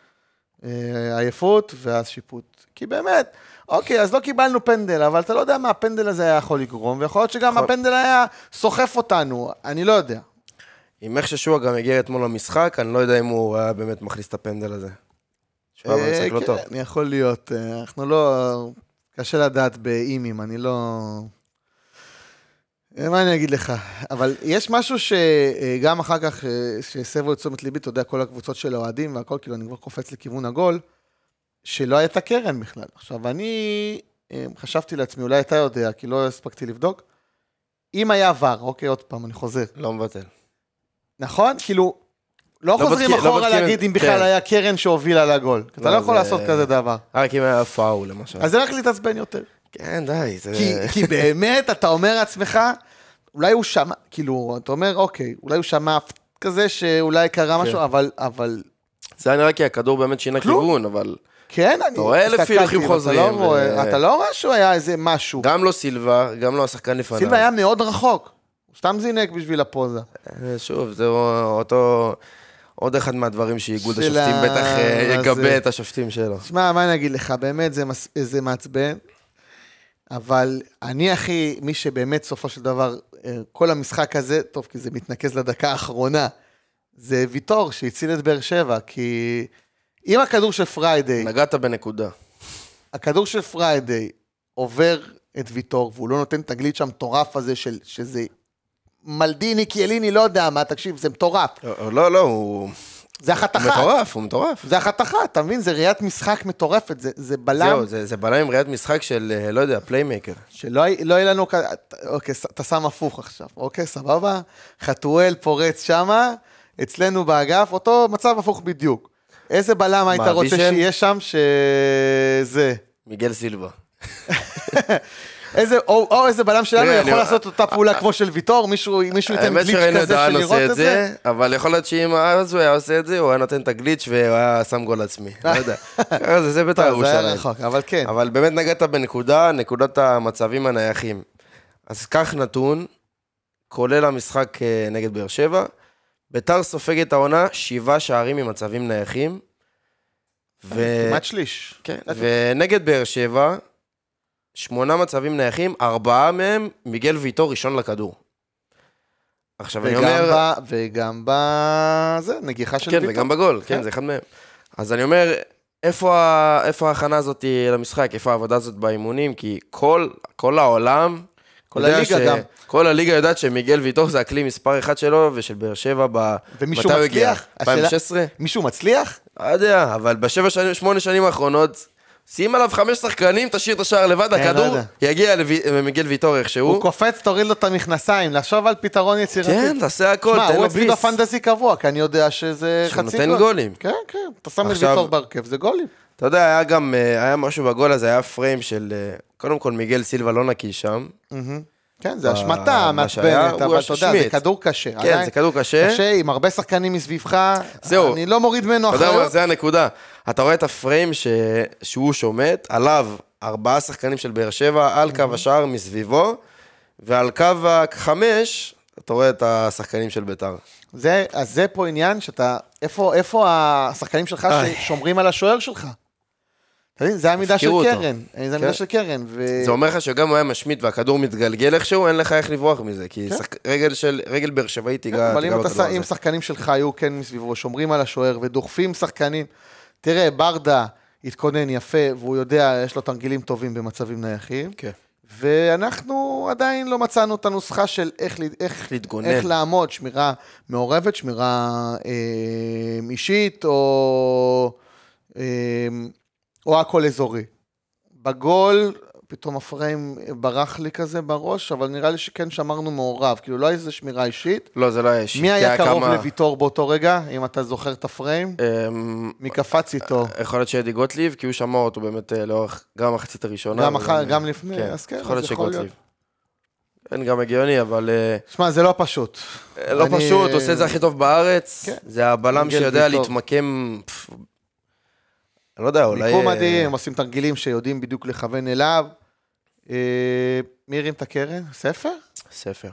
אה, עייפות, ואז שיפוט. כי באמת, אוקיי, אז לא קיבלנו פנדל, אבל אתה לא יודע מה הפנדל הזה היה יכול לגרום, ויכול להיות שגם יכול- הפנדל היה סוחף אותנו, אני לא יודע. עם איך ששועה גם הגיע אתמול למשחק, אני לא יודע אם הוא היה באמת מכניס את הפנדל הזה. שועה אה, במשחק לא כן, טוב. יכול להיות. אה, אנחנו לא... קשה לדעת באימים, אני לא... אה, מה אני אגיד לך? אבל יש משהו שגם אחר כך, אה, שהסבו את תשומת ליבי, אתה יודע, כל הקבוצות של האוהדים והכל, כאילו, אני כבר קופץ לכיוון הגול, שלא הייתה קרן בכלל. עכשיו, אני אה, חשבתי לעצמי, אולי אתה יודע, כי לא הספקתי לבדוק, אם היה ור, אוקיי, עוד פעם, אני חוזר. לא מבטל. נכון? כאילו, לא, לא חוזרים בודקים- לא אחורה בודקים- להגיד אם בכלל כן. היה קרן שהובילה לגול. אתה לא, לא יכול זה- לעשות כזה דבר. אה, כי אם היה פאול למשל. אז זה רק להתעצבן יותר. כן, די, זה... כי, כי באמת, אתה אומר לעצמך, אולי הוא שמע, כאילו, אתה אומר, אוקיי, אולי הוא שמע כזה שאולי קרה כן. משהו, אבל, אבל, זה היה נראה כי הכדור באמת שינה כלום. כיוון, אבל כן, אני... רואה אלף הסתכלתי, הילוכים ואתה חוזרים, לא רואה- ו- אתה לא רואה שהוא היה איזה משהו. גם לא סילבה, גם לא השחקן לפניו. סילבה היה מאוד רחוק. הוא סתם זינק בשביל הפוזה. אה, שוב, זה אותו... עוד אחד מהדברים שאיגוד של השופטים ה- בטח אה, הזה. יגבה את השופטים שלו. תשמע, מה אני אגיד לך, באמת זה, מס, זה מעצבן, אבל אני הכי, מי שבאמת סופו של דבר, אה, כל המשחק הזה, טוב, כי זה מתנקז לדקה האחרונה, זה ויטור שהציל את באר שבע, כי אם הכדור של פריידיי, נגעת בנקודה. הכדור של פריידיי עובר את ויטור, והוא לא נותן את הגליץ' המטורף הזה של, שזה מלדיני, קיאליני, לא יודע מה, תקשיב, זה מטורף, לא, לא, לא, הוא זה אחת הוא אחת. מטורף, הוא מטורף. זה אחת אחת, אתה מבין? זה ראיית משחק מטורפת, זה, זה בלם. זהו, זה זה בלם עם ראיית משחק של, אה, לא יודע, פליימייקר. שלא י- לא יהיה לנו כ... אוקיי, ס- אתה שם הפוך עכשיו, אוקיי, סבבה? חתואל פורץ שמה, אצלנו באגף, אותו מצב הפוך בדיוק. איזה בלם היית מה, רוצה וישל? שיהיה שם שזה... מיגל סילבה. איזה, או, או איזה בלם שלנו תראה, יכול אני- לעשות אותה פעולה כמו של ויטור, מישהו, מישהו ייתן האמת גליץ' שראינו את כזה דהן של לראות עושה את זה, אבל יכול להיות שאם אז הוא היה עושה את זה, הוא היה נותן את הגליץ' והוא היה שם גול עצמי. לא *laughs* יודע. ככה זה- זה בית"ר טוב, זה היה ירושלים. רחוק, אבל כן. אבל באמת נגעת בנקודה, נקודת המצבים הנייחים. אז קח נתון, כולל המשחק אה, נגד באר שבע, ביתר סופגת העונה שבעה שערים ממצבים נייחים. ו- כמעט שליש. כן, ונגד באר שבע, שמונה מצבים נייחים, ארבעה מהם מיגל ויטור ראשון לכדור. עכשיו אני וגם אומר... ב... וגם ב... זה, נגיחה של כן, ויטור. וגם בגול, כן, כן. זה אחד מהם. אז אני אומר, איפה ה- איפה ההכנה הזאת למשחק, איפה העבודה הזאת באימונים? כי כל כל העולם... כל יודע הליגה ש- גם. כל הליגה יודעת שמיגל ויטור זה הכלי מספר אחד שלו ושל באר שבע ב... ומישהו מתי הוא הגיע? מצליח? השאלה- 2016? מישהו מצליח? לא יודע, אבל בשבע שנים, שמונה שנים האחרונות, שים עליו חמש שחקנים, תשאיר את השער לבד, כן, לא הכדור יודע. יגיע לוי- למיגל ויטור איכשהו. הוא קופץ, תוריד לו את המכנסיים, לחשוב על פתרון יצירתי. כן, תעשה הכל, שמע, תן הוא לו אצלי ביס. בפנטזי קבוע, כי אני יודע שזה שהוא חצי גול. נותן גולים. כן, כן, אתה שם את עכשיו- ויטור בהרכב, זה גולים. אתה יודע, היה גם, אה, היה משהו בגול הזה, היה פריים של, אה, קודם כל מיגל סילבה לא נקי שם. כן, זה מה- השמטה אה, מה שהיה, מעצבנת, הוא אבל אתה יודע, זה השמיץ. כדור קשה. כן, עדיין זה כדור קשה. קשה, עם הרבה שחקנים מסביבך, זהו. אני לא מוריד ממנו אתה יודע מה, אחריות. זה הנקודה. אתה רואה את הפריים ש... שהוא שומט, עליו ארבעה שחקנים של באר שבע, על קו אוקיי. השער מסביבו, ועל קו החמש, אתה רואה את השחקנים של ביתר. זה- אז זה פה עניין שאתה, איפה- איפה השחקנים שלך איי. ששומרים על השוער שלך? אתה מבין, זה המידה של הפקירו אותו. קרן, זה כן. המידה של קרן. ו- זה אומר לך שגם אם הוא היה משמיט והכדור מתגלגל איכשהו, אין לך איך לברוח מזה, כי כן. שחק- רגל של... רגל באר שבעי תיגע אבל תיגע אם, אתה, בכדור ש- אם הזה. שחקנים שלך היו כן מסביבו, שומרים על השוער ודוחפים שחקנים, תראה, ברדה התכונן יפה, והוא יודע, יש לו תרגילים טובים במצבים נייחים, כן. ואנחנו עדיין לא מצאנו את הנוסחה של איך, ל- איך, להתגונן. איך לעמוד, שמירה מעורבת, שמירה אה, אישית, או, אה, או הכל אזורי. בגול, פתאום הפריים ברח לי כזה בראש, אבל נראה לי שכן שמרנו מעורב, כאילו לא איזה שמירה אישית. לא, זה לא היה אישי. מי כי היה קרוב כמה- לוויטור באותו רגע, אם אתה זוכר את הפריים? אמ, מי קפץ איתו? יכול להיות שאדי גוטליב, כי הוא שמע אותו באמת אה, לאורך גם המחצית הראשונה. גם וגם- אחר, גם לפני, כן, אז כן, יכול להיות אז יכול להיות. שגוטליב. כן, גם הגיוני, אבל אה, שמע, זה לא פשוט. אה, לא אני- פשוט, עושה את זה הכי טוב בארץ. כן. זה הבלם מיגל שיודע ויטור. להתמקם... פפ, אני לא יודע, אולי... מיקום אה, מדהים, הם עושים תרגילים שיודעים בדיוק לכוון אליו. אה, מי הרים את הקרן? ספר? ספר.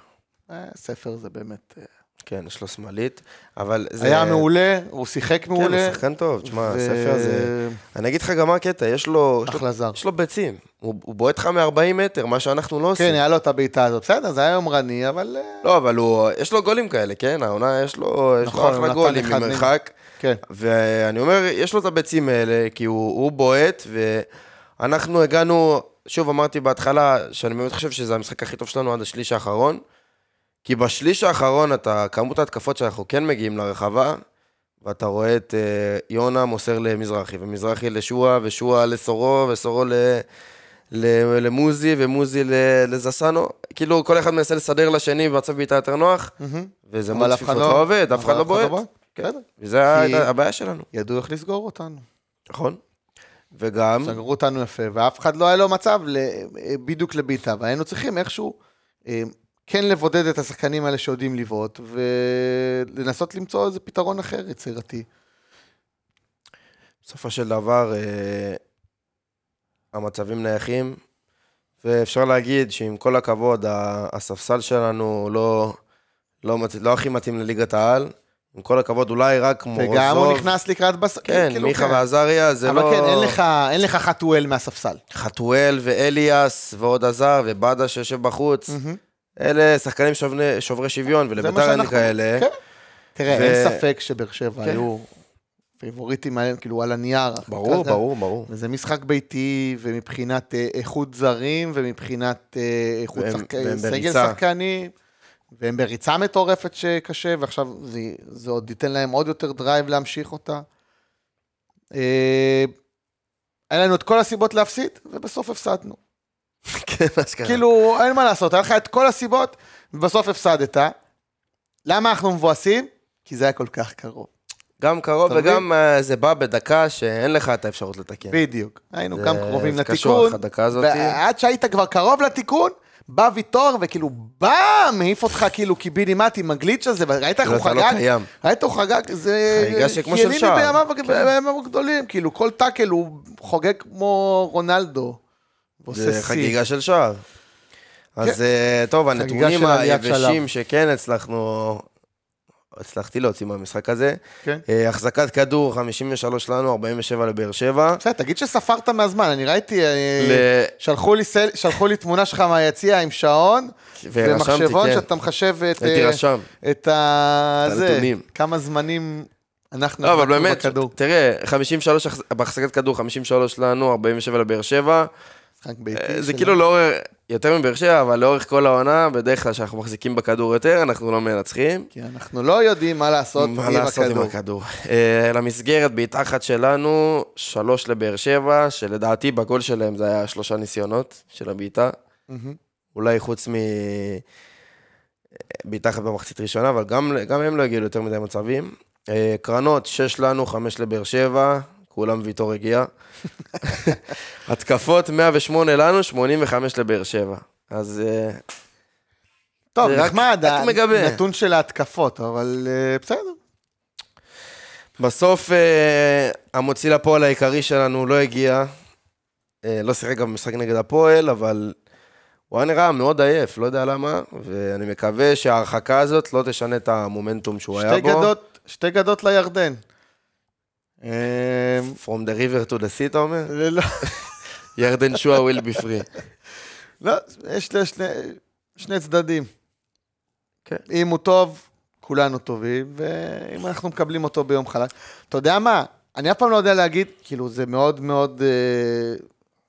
אה, ספר זה באמת... אה, כן, יש לו שמאלית, אבל זה... היה מעולה, הוא שיחק כן, הוא מעולה. שחקן טוב, תשמע, ו- הספר זה... אני אגיד לך גם מה הקטע, יש לו... יש לו- אחלה זר. יש לו ביצים. הוא הוא בועט לך מ-40 מטר, מה שאנחנו לא כן, עושים. היה לו את הבעיטה הזאת. בסדר, זה היה יומרני, אבל... אה, לא, אבל הוא... יש לו גולים כאלה, כן? העונה, יש לו... יש נכון, לו הוא נתן אחלה גולים אחד מהם. ממרחק. כן. ואני אומר, יש לו את הביצים האלה, כי הוא, הוא בועט, ואנחנו הגענו, שוב אמרתי בהתחלה, שאני באמת חושב שזה המשחק הכי טוב שלנו עד השליש האחרון, כי בשליש האחרון, אתה, כמות ההתקפות שאנחנו כן מגיעים לרחבה, ואתה רואה את אה, יונה מוסר למזרחי, ומזרחי לשועה, ושועה לסורו, וסורו ל... ל- למוזי ומוזי ל- לזסנו, כאילו כל אחד מנסה לסדר לשני במצב בעיטה יותר נוח, מהמם. וזה אבל מול אף אחד צפיפות לא- לא עובד, אף אבל אחד לא בועט. כן, בסדר. וזו הייתה הבעיה שלנו. ידעו איך לסגור אותנו. נכון. וגם, סגרו אותנו יפה, ואף אחד לא היה לו מצב ל- אה, בדיוק לבעיטה, והיינו צריכים איכשהו אה, כן לבודד את השחקנים האלה שיודעים לבעוט, ולנסות למצוא איזה פתרון אחר יצירתי. בסופו של דבר, אה, המצבים נייחים, ואפשר להגיד שעם כל הכבוד, ה- הספסל שלנו לא, לא, מצ... לא הכי מתאים לליגת העל. עם כל הכבוד, אולי רק מורוזוב. וגם הוא נכנס לקראת בס... כן, כאילו, מיכה ועזריה, זה אבל לא... כן, אין לך, אין לך חתואל מהספסל. חתואל ואליאס ועוד עזר ובאדה שיושב בחוץ. אלה שחקנים שובני, שוברי שוויון, זה מה ולביתר אין שאנחנו- כאלה. כן. תראה, ו- אין ספק שבאר שבע כן. היו פיבוריטים, עליהם, כאילו על הנייר. ברור, אתה יודע, ברור, ברור. וזה משחק ביתי, ומבחינת אה, איכות זרים, ומבחינת אה, איכות והם- שחק... והם סגל בריצה. שחקנים, והם בריצה מטורפת שקשה, ועכשיו זה, זה עוד ייתן להם עוד יותר דרייב להמשיך אותה. אה, היה לנו את כל הסיבות להפסיד, ובסוף הפסדנו. כן, אשכרה. כאילו, אין מה לעשות, היה לך את כל הסיבות, ובסוף הפסדת. למה אנחנו מבואסים? כי זה היה כל כך קרוב. גם קרוב אתה מבין? וגם אה, זה בא בדקה שאין לך את האפשרות לתקן. בדיוק. היינו כן. זה- גם קרובים זה קשור לתיקון, לך הדקה הזאת. ועד שהיית כבר קרוב לתיקון, בא ויטור וכאילו באם, העיף אותך כאילו קיבינימט עם הגליץ' הזה, וראית איך כאילו, הוא אתה לא חגג? קיים. ראית הוא חגג, זה... חגיגה שכמו של ילין שער. בימיו- כן. בימיו הגדולים, כאילו כל טאקל הוא חוגג כמו רונלדו. ועושה זה שיא. כן. חגיגה של שער. אז אה, טוב, חגיגה הנתונים של עליית שלב. היבשים שכן הצלחנו, הצלחתי להוציא מהמשחק הזה. כן. אה, החזקת כדור, 53 לנו, 47 לבאר שבע. בסדר, תגיד שספרת מהזמן, אני ראיתי... אה, ל- שלחו לי, סל, שלחו לי תמונה שלך מהיציע עם שעון, ורשמתי, ומחשבון כן. שאתה מחשב את, הייתי אה, רשם. את ה... זה, הנתונים. כמה זמנים אנחנו לא, אבל החזקנו באמת, נכון, בכדור. תראה, 53 החז- בהחזקת כדור, 53 לנו, 47 לבאר שבע. משחק ביתי אה, זה שלנו. כאילו לאורך, יותר מבאר שבע, אבל לאורך כל העונה, בדרך כלל כשאנחנו מחזיקים בכדור יותר, אנחנו לא מנצחים. כי אנחנו לא יודעים מה לעשות מה לעשות עם הכדור? אה, למסגרת, בעיטה אחת שלנו, שלוש לבאר שבע, שלדעתי בגול שלהם זה היה שלושה ניסיונות של הבעיטה. מהמם. אולי חוץ מ... בעיטה אחת במחצית ראשונה, אבל גם, גם הם לא הגיעו ליותר מדי מצבים. אה, קרנות, שש לנו, חמש לבאר שבע, כולם ויטור הגיע. *laughs* התקפות, 108 לנו, 85 לבאר שבע. אז אה, טוב, זה רק- נחמד, רק מגבה. הנתון של ההתקפות, אבל אה, בסדר. בסוף אה, המוציא לפועל העיקרי שלנו לא הגיע. אה, לא שיחק גם במשחק נגד הפועל, אבל הוא היה נראה מאוד עייף, לא יודע למה, ואני מקווה שההרחקה הזאת לא תשנה את המומנטום שהוא היה שתי בו. גדות, שתי גדות לירדן. אה, From the river to the sea, אתה אומר? זה לא- ירדן שואה will be free. לא, יש לה שני, שני צדדים. כן. אם הוא טוב, כולנו טובים, ואם אנחנו מקבלים אותו ביום חלק. אתה יודע מה? אני אף פעם לא יודע להגיד, כאילו, זה מאוד מאוד... אה,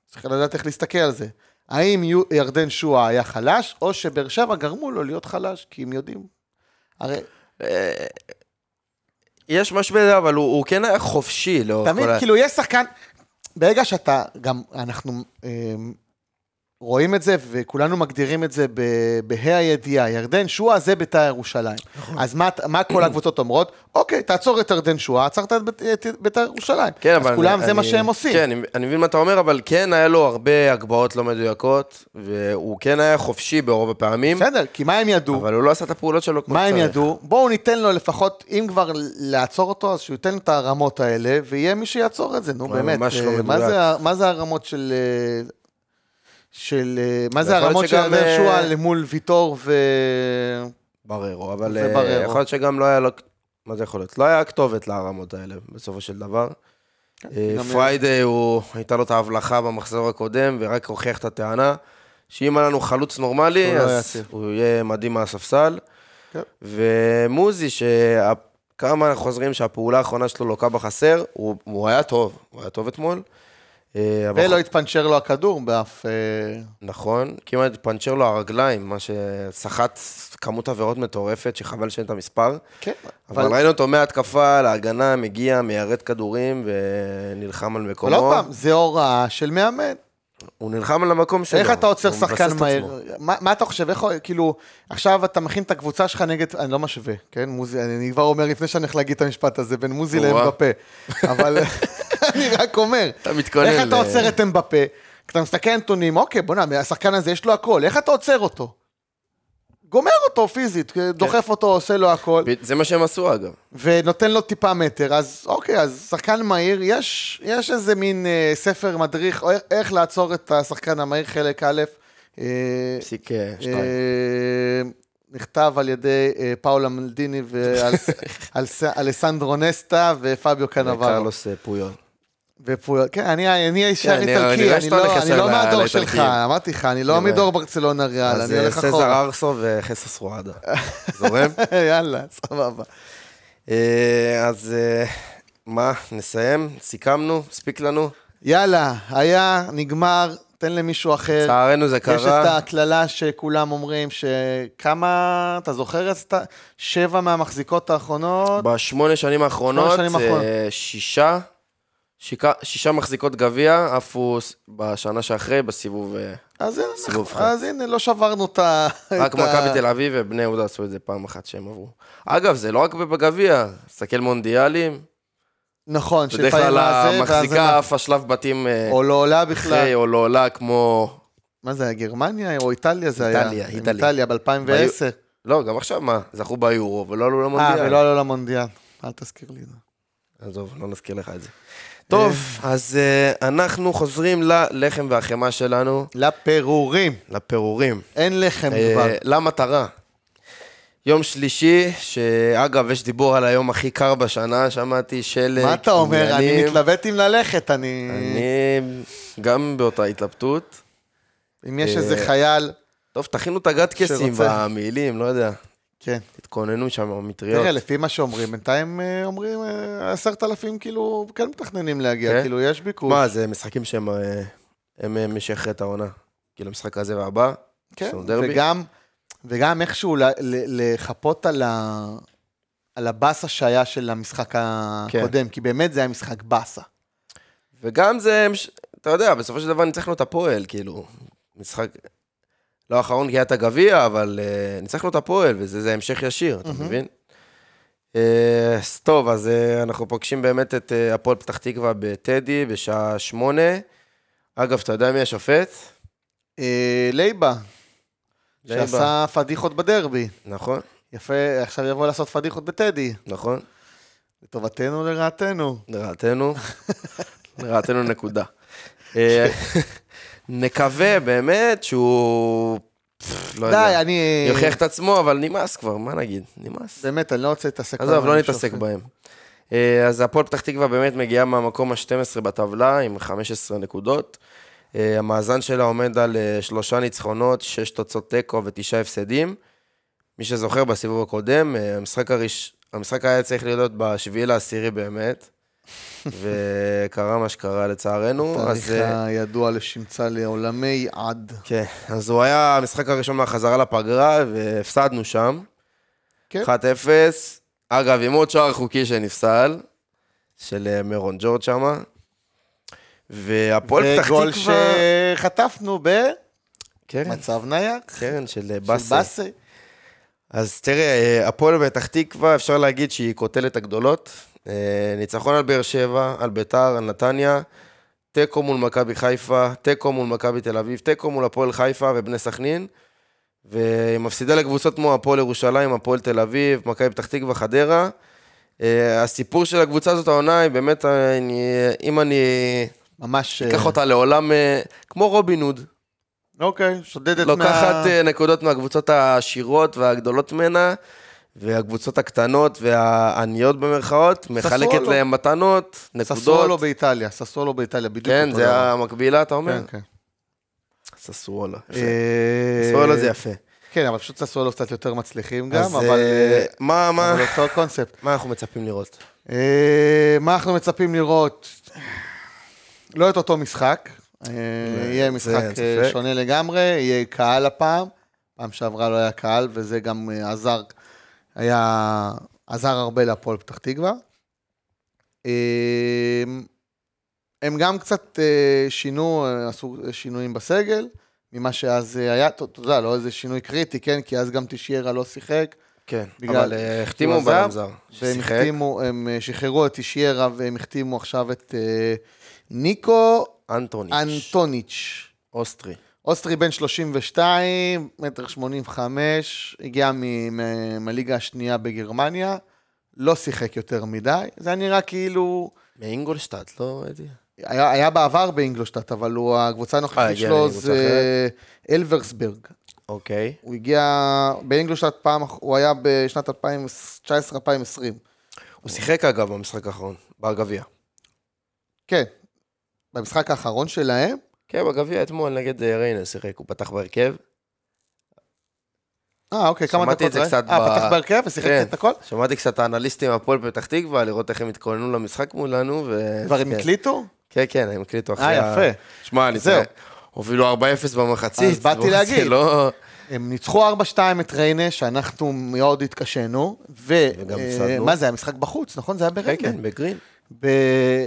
צריך לדעת איך להסתכל על זה. האם יו- ירדן שואה היה חלש, או שבאר שבע גרמו לו להיות חלש, כי הם יודעים. הרי אה, יש משבר, אבל הוא הוא כן היה חופשי לאורך תמיד, כל ה... כאילו, יש שחקן... ברגע שאתה, גם אנחנו אה, רואים את זה, וכולנו מגדירים את זה ב- בה"א הידיעה, ירדן שועה זה בית"ר ירושלים. נכון. אז מה, מה כל הקבוצות אומרות? אוקיי, תעצור את ירדן שועה, עצרת את בית- את בית"ר ירושלים. כן, אז אבל... כולם אני- זה מה אני- שהם עושים. כן, אני- אני מבין מה אתה אומר, אבל כן היה לו הרבה הגבהות לא מדויקות, והוא כן היה חופשי ברוב הפעמים, בסדר, כי מה הם ידעו? אבל הוא לא עשה את הפעולות שלו כמו מה שצריך. הם ידעו? בואו ניתן לו לפחות, אם כבר לעצור אותו, אז שהוא ייתן את הרמות האלה, ויהיה מי שיעצור את זה, נו הוא באמת. ממש לא אה, מה מדויק. זה ה- מה זה הרמות של... אה, של... אה, מה זה ויכול להיות הרמות של שגם, ארדר אה, שועה למול ויטור ו... בררו, אבל זה אה, בררו. יכול להיות שגם לא היה לו... מה זה יכול להיות? לא היה הכתובת להרמות האלה, בסופו של דבר. אה, כן, גם- פריידי, הוא... הייתה לו את ההבלחה במחזור הקודם, ורק הוכיח את הטענה, שאם היה לנו חלוץ הוא נורמלי, לא אז יעצב. הוא יהיה מדהים מהספסל. כן. ומוזי, שכמה חוזרים שהפעולה האחרונה שלו לוקה בחסר, הוא, הוא היה טוב, הוא היה טוב אתמול. אה, אבל- ולא התפנצ'ר לו הכדור באף... אה, נכון, כמעט פנצ'ר לו הרגליים, מה שסחט כמות עבירות מטורפת, שחבל שאין את המספר. כן, אבל אבל... ראינו אותו מההתקפה להגנה, מגיע, מיירט כדורים ונלחם על מקומו. אבל עוד פעם, זה הוראה של מאמן. הוא נלחם על המקום שלו. איך אתה עוצר לא, הוא מבסס שחקן את עצמו. מהר? מה מה אתה חושב? איך, כאילו, עכשיו אתה מכין את הקבוצה שלך נגד, אני לא משווה, כן? מוזי, אני כבר אומר לפני שאני הולך להגיד את המשפט הזה, בין מוזי נורא. לאמבפה. אבל *laughs* אני רק אומר, אתה מתכונן. איך אתה ל- עוצר את אמבפה? אתה מסתכל על נתונים, אוקיי, בוא'נה, השחקן הזה יש לו הכל, איך אתה עוצר אותו? גומר אותו פיזית, כן. דוחף אותו, עושה לו הכל. ב- זה מה שהם עשו אגב. ונותן לו טיפה מטר, אז אוקיי, אז שחקן מהיר, יש, יש איזה מין אה, ספר מדריך, או איך, איך לעצור את השחקן המהיר, חלק א', אה, פסיק אה, שתיים. אה, נכתב על ידי אה, פאולה מלדיני *laughs* ואלסנדרו נסטה ופביו קנברו. קרלוס אה, פויו. ופו- כן, אני אני כן, ישר אני- איטלקי, אני אני שאתה הולך לא- אני ישר לא ל- מהדור לאיטלקים. שלך, אמרתי לך, אני לא אני רואה. מדור ברצלונה ריאל, אז אני אה, הולך סזר אחורה. ארסו וחסס *laughs* רואדה. זורם? יאללה, סבבה. אה, אז אה, מה, נסיים? סיכמנו? הספיק לנו? אה, יאללה, היה, נגמר, תן למישהו אחר. לצערנו זה יש את קרה. ההקללה שכולם אומרים שכמה, אתה זוכר את ה... שבע מהמחזיקות האחרונות? בשמונה שנים האחרונות, שמונה שנים האחרונות. אה, שישה. שיקה- שישה מחזיקות גביע, עפו ס- בשנה שאחרי, בסיבוב... אה, אז, הנה, סיבוב אנחנו- אחד. אז הנה, לא שברנו את ה... רק את ה- מכבי תל אביב ובני יהודה עשו את זה פעם אחת שהם עברו. אגב, זה לא רק בגביע, תסתכל מונדיאלים, נכון, בדרך שלפעמים כלל היה זה, ואז המחזיקה אנחנו- עפה שלב בתים אה, או לא עולה בכלל. אחרי או לא עולה כמו... מה זה היה, גרמניה או איטליה זה היה? איטליה, איטליה. איטליה ב-2010. לא, גם עכשיו מה, זכו ביורו ולא עלו אה, למונדיאל. ולא עלו למונדיאל. אל תזכיר לי את זה. עזוב, לא נזכיר לך את זה. טוב, אז אה, אנחנו חוזרים ללחם והחמאה שלנו, לפירורים, לפירורים. אין לחם אה, כבר. למטרה. יום שלישי, שאגב, יש דיבור על היום הכי קר בשנה, שמעתי שלג. מה אתה אומר? אני עניינים. מתלבט אם ללכת, אני... אני גם באותה התלבטות. אם יש אה, איזה חייל... טוב, תכינו את הגטקסים שרוצה. במעילים, לא יודע. כן. תתכוננו שם, המטריות. תראה, לפי מה שאומרים, בינתיים אה, אומרים אה, עשרת אלפים כאילו כן מתכננים להגיע, כן? כאילו יש ביקוש. מה, זה משחקים שהם אה, הם, אה, מי שיכריע את העונה. כאילו, המשחק הזה והבא. כן, שהוא דרבי? וגם, וגם איכשהו ל- ל- לחפות על, ה... על הבאסה שהיה של המשחק כן. הקודם, כי באמת זה היה משחק באסה. וגם זה, מש- אתה יודע, בסופו של דבר ניצחנו את הפועל, כאילו, משחק... לא האחרון כי היה את הגביע, אבל אה, ניצחנו את הפועל, וזה זה המשך ישיר, אתה מהמם. מבין? אה, אז טוב, אז אה, אנחנו פוגשים באמת את אה, הפועל פתח תקווה בטדי בשעה שמונה. אגב, אתה יודע מי השופט? אה, לייבה, לייבה. שעשה פדיחות בדרבי. נכון, יפה, עכשיו יבוא לעשות פדיחות בטדי. נכון. לטובתנו, לרעתנו. *laughs* לרעתנו, לרעתנו נקודה. אה, *laughs* נקווה באמת שהוא... לא די, יודע. אני... יוכיח את עצמו, אבל נמאס כבר, מה נגיד? נמאס. באמת, אני לא רוצה להתעסק. עזוב, בהם, לא אני נתעסק שופט. בהם. אה, אז הפועל פתח תקווה באמת מגיעה מהמקום ה-12 בטבלה עם 15 נקודות. אה, המאזן שלה עומד על אה, שלושה ניצחונות, שש תוצאות תיקו ותשעה הפסדים. מי שזוכר, בסיבוב הקודם, אה, המשחק, הראש... המשחק היה צריך להיות בשביעי לעשירי באמת, וקרה מה שקרה לצערנו. תאריך אז, אה, הידוע לשמצה לעולמי עד. כן, אז הוא היה המשחק הראשון מהחזרה לפגרה, והפסדנו שם. כן. 1-0. אגב, עם עוד שער חוקי שנפסל, של אה, מירון ג'ורד שמה. והפועל פתח וגול תקווה... שחטפנו ב... קרן, מצב נייח, קרן של אה, של באסה. כן. באסה. אז תראה, אה, הפועל פתח תקווה, אפשר להגיד שהיא קוטלת הגדולות. אה, ניצחון על באר שבע, על ביתר, על נתניה, תיקו מול מכבי חיפה, תיקו מול מכבי תל אביב, תיקו מול הפועל חיפה ובני סכנין. והיא מפסידה לקבוצות כמו הפועל ירושלים, הפועל תל אביב, מכבי פתח תקווה, חדרה. אה, הסיפור של הקבוצה הזאת העונה היא באמת, אה, אני, אם אני ממש... אקח אה, אותה לעולם, אה, כמו רובין הוד, אוקיי, שודדת מה... לוקחת אה, נקודות מהקבוצות העשירות והגדולות ממנה, והקבוצות הקטנות והעניות במרכאות, מחלקת ססוולו. להן מתנות, ססוולו נקודות. באיטליה, ססוולו באיטליה, בדיוק כן, אותו זה דבר. המקבילה, אתה אומר? כן, כן. ססוולו. יפה. אה, ססוולו זה יפה. כן, אבל פשוט ססוולו קצת יותר מצליחים גם, אז אבל... אה, אה, מה, מה, אבל אותו קונספט. מה אנחנו מצפים לראות? אה, מה אנחנו מצפים לראות? לא את אותו משחק, אה, יהיה משחק אין אה, ספק. שונה לגמרי, יהיה קהל הפעם, פעם שעברה לא היה קהל, וזה גם אה, עזר, היה, עזר הרבה להפועל פתח תקווה. אה, הם גם קצת אה, שינו, אה, עשו שינויים בסגל, ממה שאז אה, היה, אתה אתה יודע, לא איזה שינוי קריטי, כן? כי אז גם תשיירה לא שיחק, כן, בגלל אבל אה, החתימו שהוא עזב, בלם זר, והם ששיחק. החתימו, הם אה, שחררו את אישיירה והם החתימו עכשיו את אה, ניקו אנטוניץ', אנטוניץ'. אוסטרי. אוסטרי בן 32, מטר 85, הגיע מ- מ- מהליגה השנייה בגרמניה, לא שיחק יותר מדי. זה היה נראה כאילו... מאינגולשטאט, לא ראיתי. היה, היה בעבר באינגלושטאט, אבל הוא, הקבוצה אה, הנוכחית הגיע שלו לקבוצה זה אלברסברג. אוקיי. הוא הגיע באינגלושטאט פעם, אח- הוא היה בשנת 2019-2020. הוא שיחק אגב במשחק האחרון, בגביע. כן, במשחק האחרון שלהם, כן, בגביע אתמול נגד אה, ריינה שיחק, הוא פתח בהרכב. אה, אוקיי, כמה דקות? שמעתי את זה ראי? קצת ב- אה, פתח בהרכב ושיחק כן. את הכל? שמעתי קצת את האנליסטים מהפועל פתח תקווה, לראות איך הם התכוננו למשחק מולנו. ו... כבר הם כן. הקליטו? כן, כן, הם הקליטו אחרי אה, יפה. שמע, אני זהו. זהו. הובילו 4-0 במחצית. אז באתי בוא, *laughs* זה להגיד. לא... הם ניצחו 4-2 את ריינה, שאנחנו מאוד התקשינו, ו... וגם אה, הפסדנו. מה זה, היה משחק בחוץ, נכון? זה היה בריינה. כן, כן, בגרין. ב...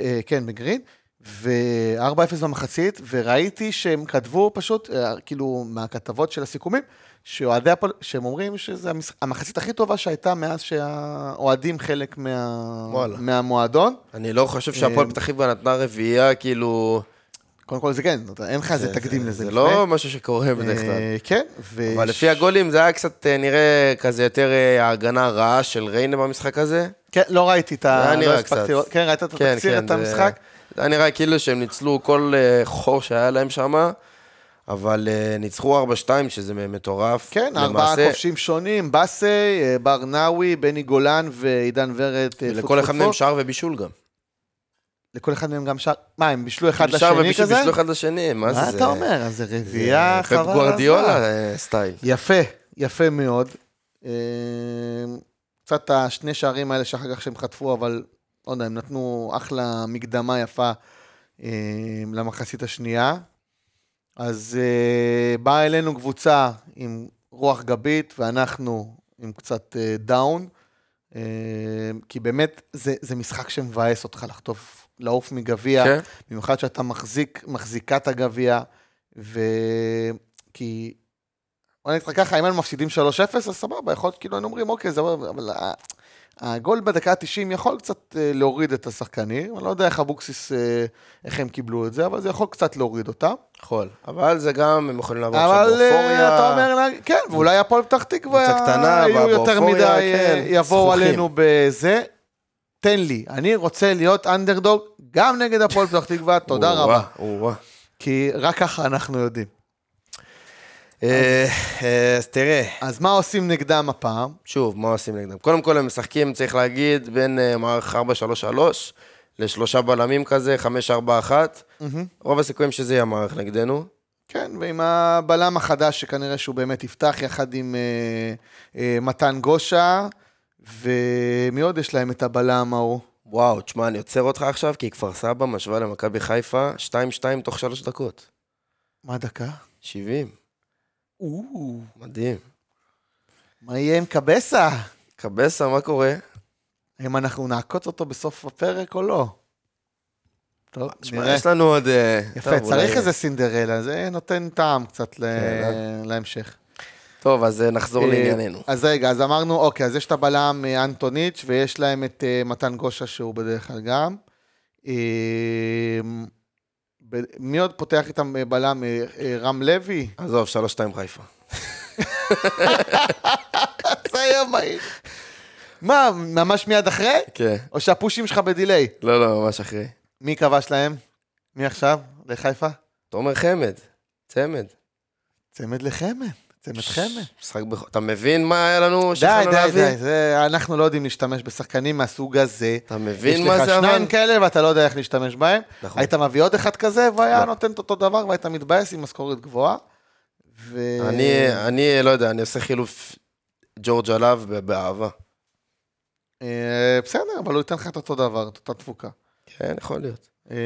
אה, כן, בגרין. ו-4-0 במחצית, וראיתי שהם כתבו פשוט, אה, כאילו, מהכתבות של הסיכומים, שאוהדי הפועל, שהם אומרים שזו המש... המחצית הכי טובה שהייתה מאז שהאוהדים חלק מה... וואלה. מהמועדון. אני לא חושב שהפועל אה, פתח תקווה נתנה רביעייה, כאילו... קודם כל זה כן, אתה- אין לך איזה תקדים לזה. זה לפני. לא משהו שקורה בדרך כלל. אה, כן, ו... אבל לפי הגולים זה היה קצת אה, נראה כזה יותר אה, ההגנה הרעה של ריינה במשחק הזה. כן, לא ראיתי את זה ה... היה לא נראה הספקתי קצת. לראות. כן, ראית את כן, התקציר, כן. את המשחק? זה- זה היה נראה כאילו שהם ניצלו כל אה, חור שהיה להם שם, אבל אה, ניצחו 4-2, שזה מטורף. כן, ארבעה למעשה, כובשים שונים, באסי, אה, בר נאווי, בני גולן ועידן ורד. אה, ולכל פוט, אחד פוט, מהם פוט. שער ובישול גם. לכל אחד מהם גם שער. מה, הם בישלו אחד כאילו שער לשני ובישול כזה? בישלו אחד לשני, מה זה? מה זה- אתה אומר? אז זה זה רביעייה, חבל. פפ על גוורדיולה הזמן. אה, סטייל. יפה, יפה מאוד. אה, קצת השני שערים האלה שאחר כך שהם חטפו, אבל לא יודע, הם נתנו אחלה מקדמה יפה אה, למחצית השנייה. אז אה, באה אלינו קבוצה עם רוח גבית, ואנחנו עם קצת אה, דאון. אה, כי באמת, זה, זה משחק שמבאס אותך לחטוף, לעוף מגביע. כן? במיוחד שאתה מחזיק, מחזיקה את הגביע, ו... כי... בוא נגיד לך ככה, אם היינו מפסידים 3-0, אז סבבה, יכול להיות, כאילו, היינו אומרים, אוקיי, זה... אבל ה- הגול בדקה ה-90 יכול קצת אה, להוריד את השחקנים, אני לא יודע איך אבוקסיס, אה, איך הם קיבלו את זה, אבל זה יכול קצת להוריד אותם. יכול. אבל זה גם, הם יכולים לעבור עכשיו אבל אה, באופוריה. אתה אומר, לה- כן, ואולי הפועל פתח תקווה קבוצה קטנה, יהיו בא- יותר באופוריה, מדי, אה, כן, יבואו זחוחים. עלינו בזה. תן לי, אני רוצה להיות אנדרדוג גם נגד הפועל פתח תקווה, תודה או-אה, רבה. או-אה. כי רק ככה אנחנו יודעים. אה, אה, אז תראה, אז מה עושים נגדם הפעם? שוב, מה עושים נגדם? קודם כל הם משחקים, צריך להגיד, בין אה, מערך 4-3-3 לשלושה בלמים כזה, 5-4-1. רוב הסיכויים שזה יהיה המערך נגדנו. כן, ועם הבלם החדש, שכנראה שהוא באמת יפתח, יחד עם אה, אה, מתן גושה, ומי עוד יש להם את הבלם ההוא? וואו, תשמע, אני עוצר אותך עכשיו, כי כפר סבא משווה למכבי חיפה 2-2 תוך 3 דקות. מה דקה? 70, או, מדהים. מה יהיה עם קבסה? קבסה, מה קורה? האם אנחנו נעקוץ אותו בסוף הפרק או לא? טוב, שמע, נראה. יש לנו עוד... אה, טוב, יפה, אולי- צריך איזה סינדרלה, זה נותן טעם קצת ל- כן, להמשך. טוב, אז אה, נחזור אה, לענייננו. אז רגע, אז אמרנו, אוקיי, אז יש את הבלם אה, אנטוניץ', ויש להם את אה, מתן גושה, שהוא בדרך כלל גם. אה, ב- מי עוד פותח איתם אה, בלם? אה, אה, רם *laughs* לוי? עזוב, 3-2 חיפה. זה היה מהיר. מה, ממש מיד אחרי? כן. או שהפושים שלך בדיליי? לא, לא, ממש אחרי. מי כבש להם? מי עכשיו? לחיפה? תומר חמד, צמד. צמד לחמד, צמד חמד. משחק בח... אתה מבין מה היה לנו די, שיכולנו די, להביא? די, זה- אנחנו לא יודעים להשתמש בשחקנים מהסוג הזה. אתה יש מבין מה לך זה אבל? שניים כאלה ואתה לא יודע איך להשתמש בהם. נכון. היית מביא עוד אחד כזה והיה לא. נותן את אותו דבר והיית מתבאס עם משכורת גבוהה. ו... אני, אני לא יודע, אני עושה חילוף ג'ורג' עליו ב- באהבה. אה, בסדר, אבל הוא ייתן לך את אותו דבר, את אותה תפוקה. כן, יכול להיות. אה,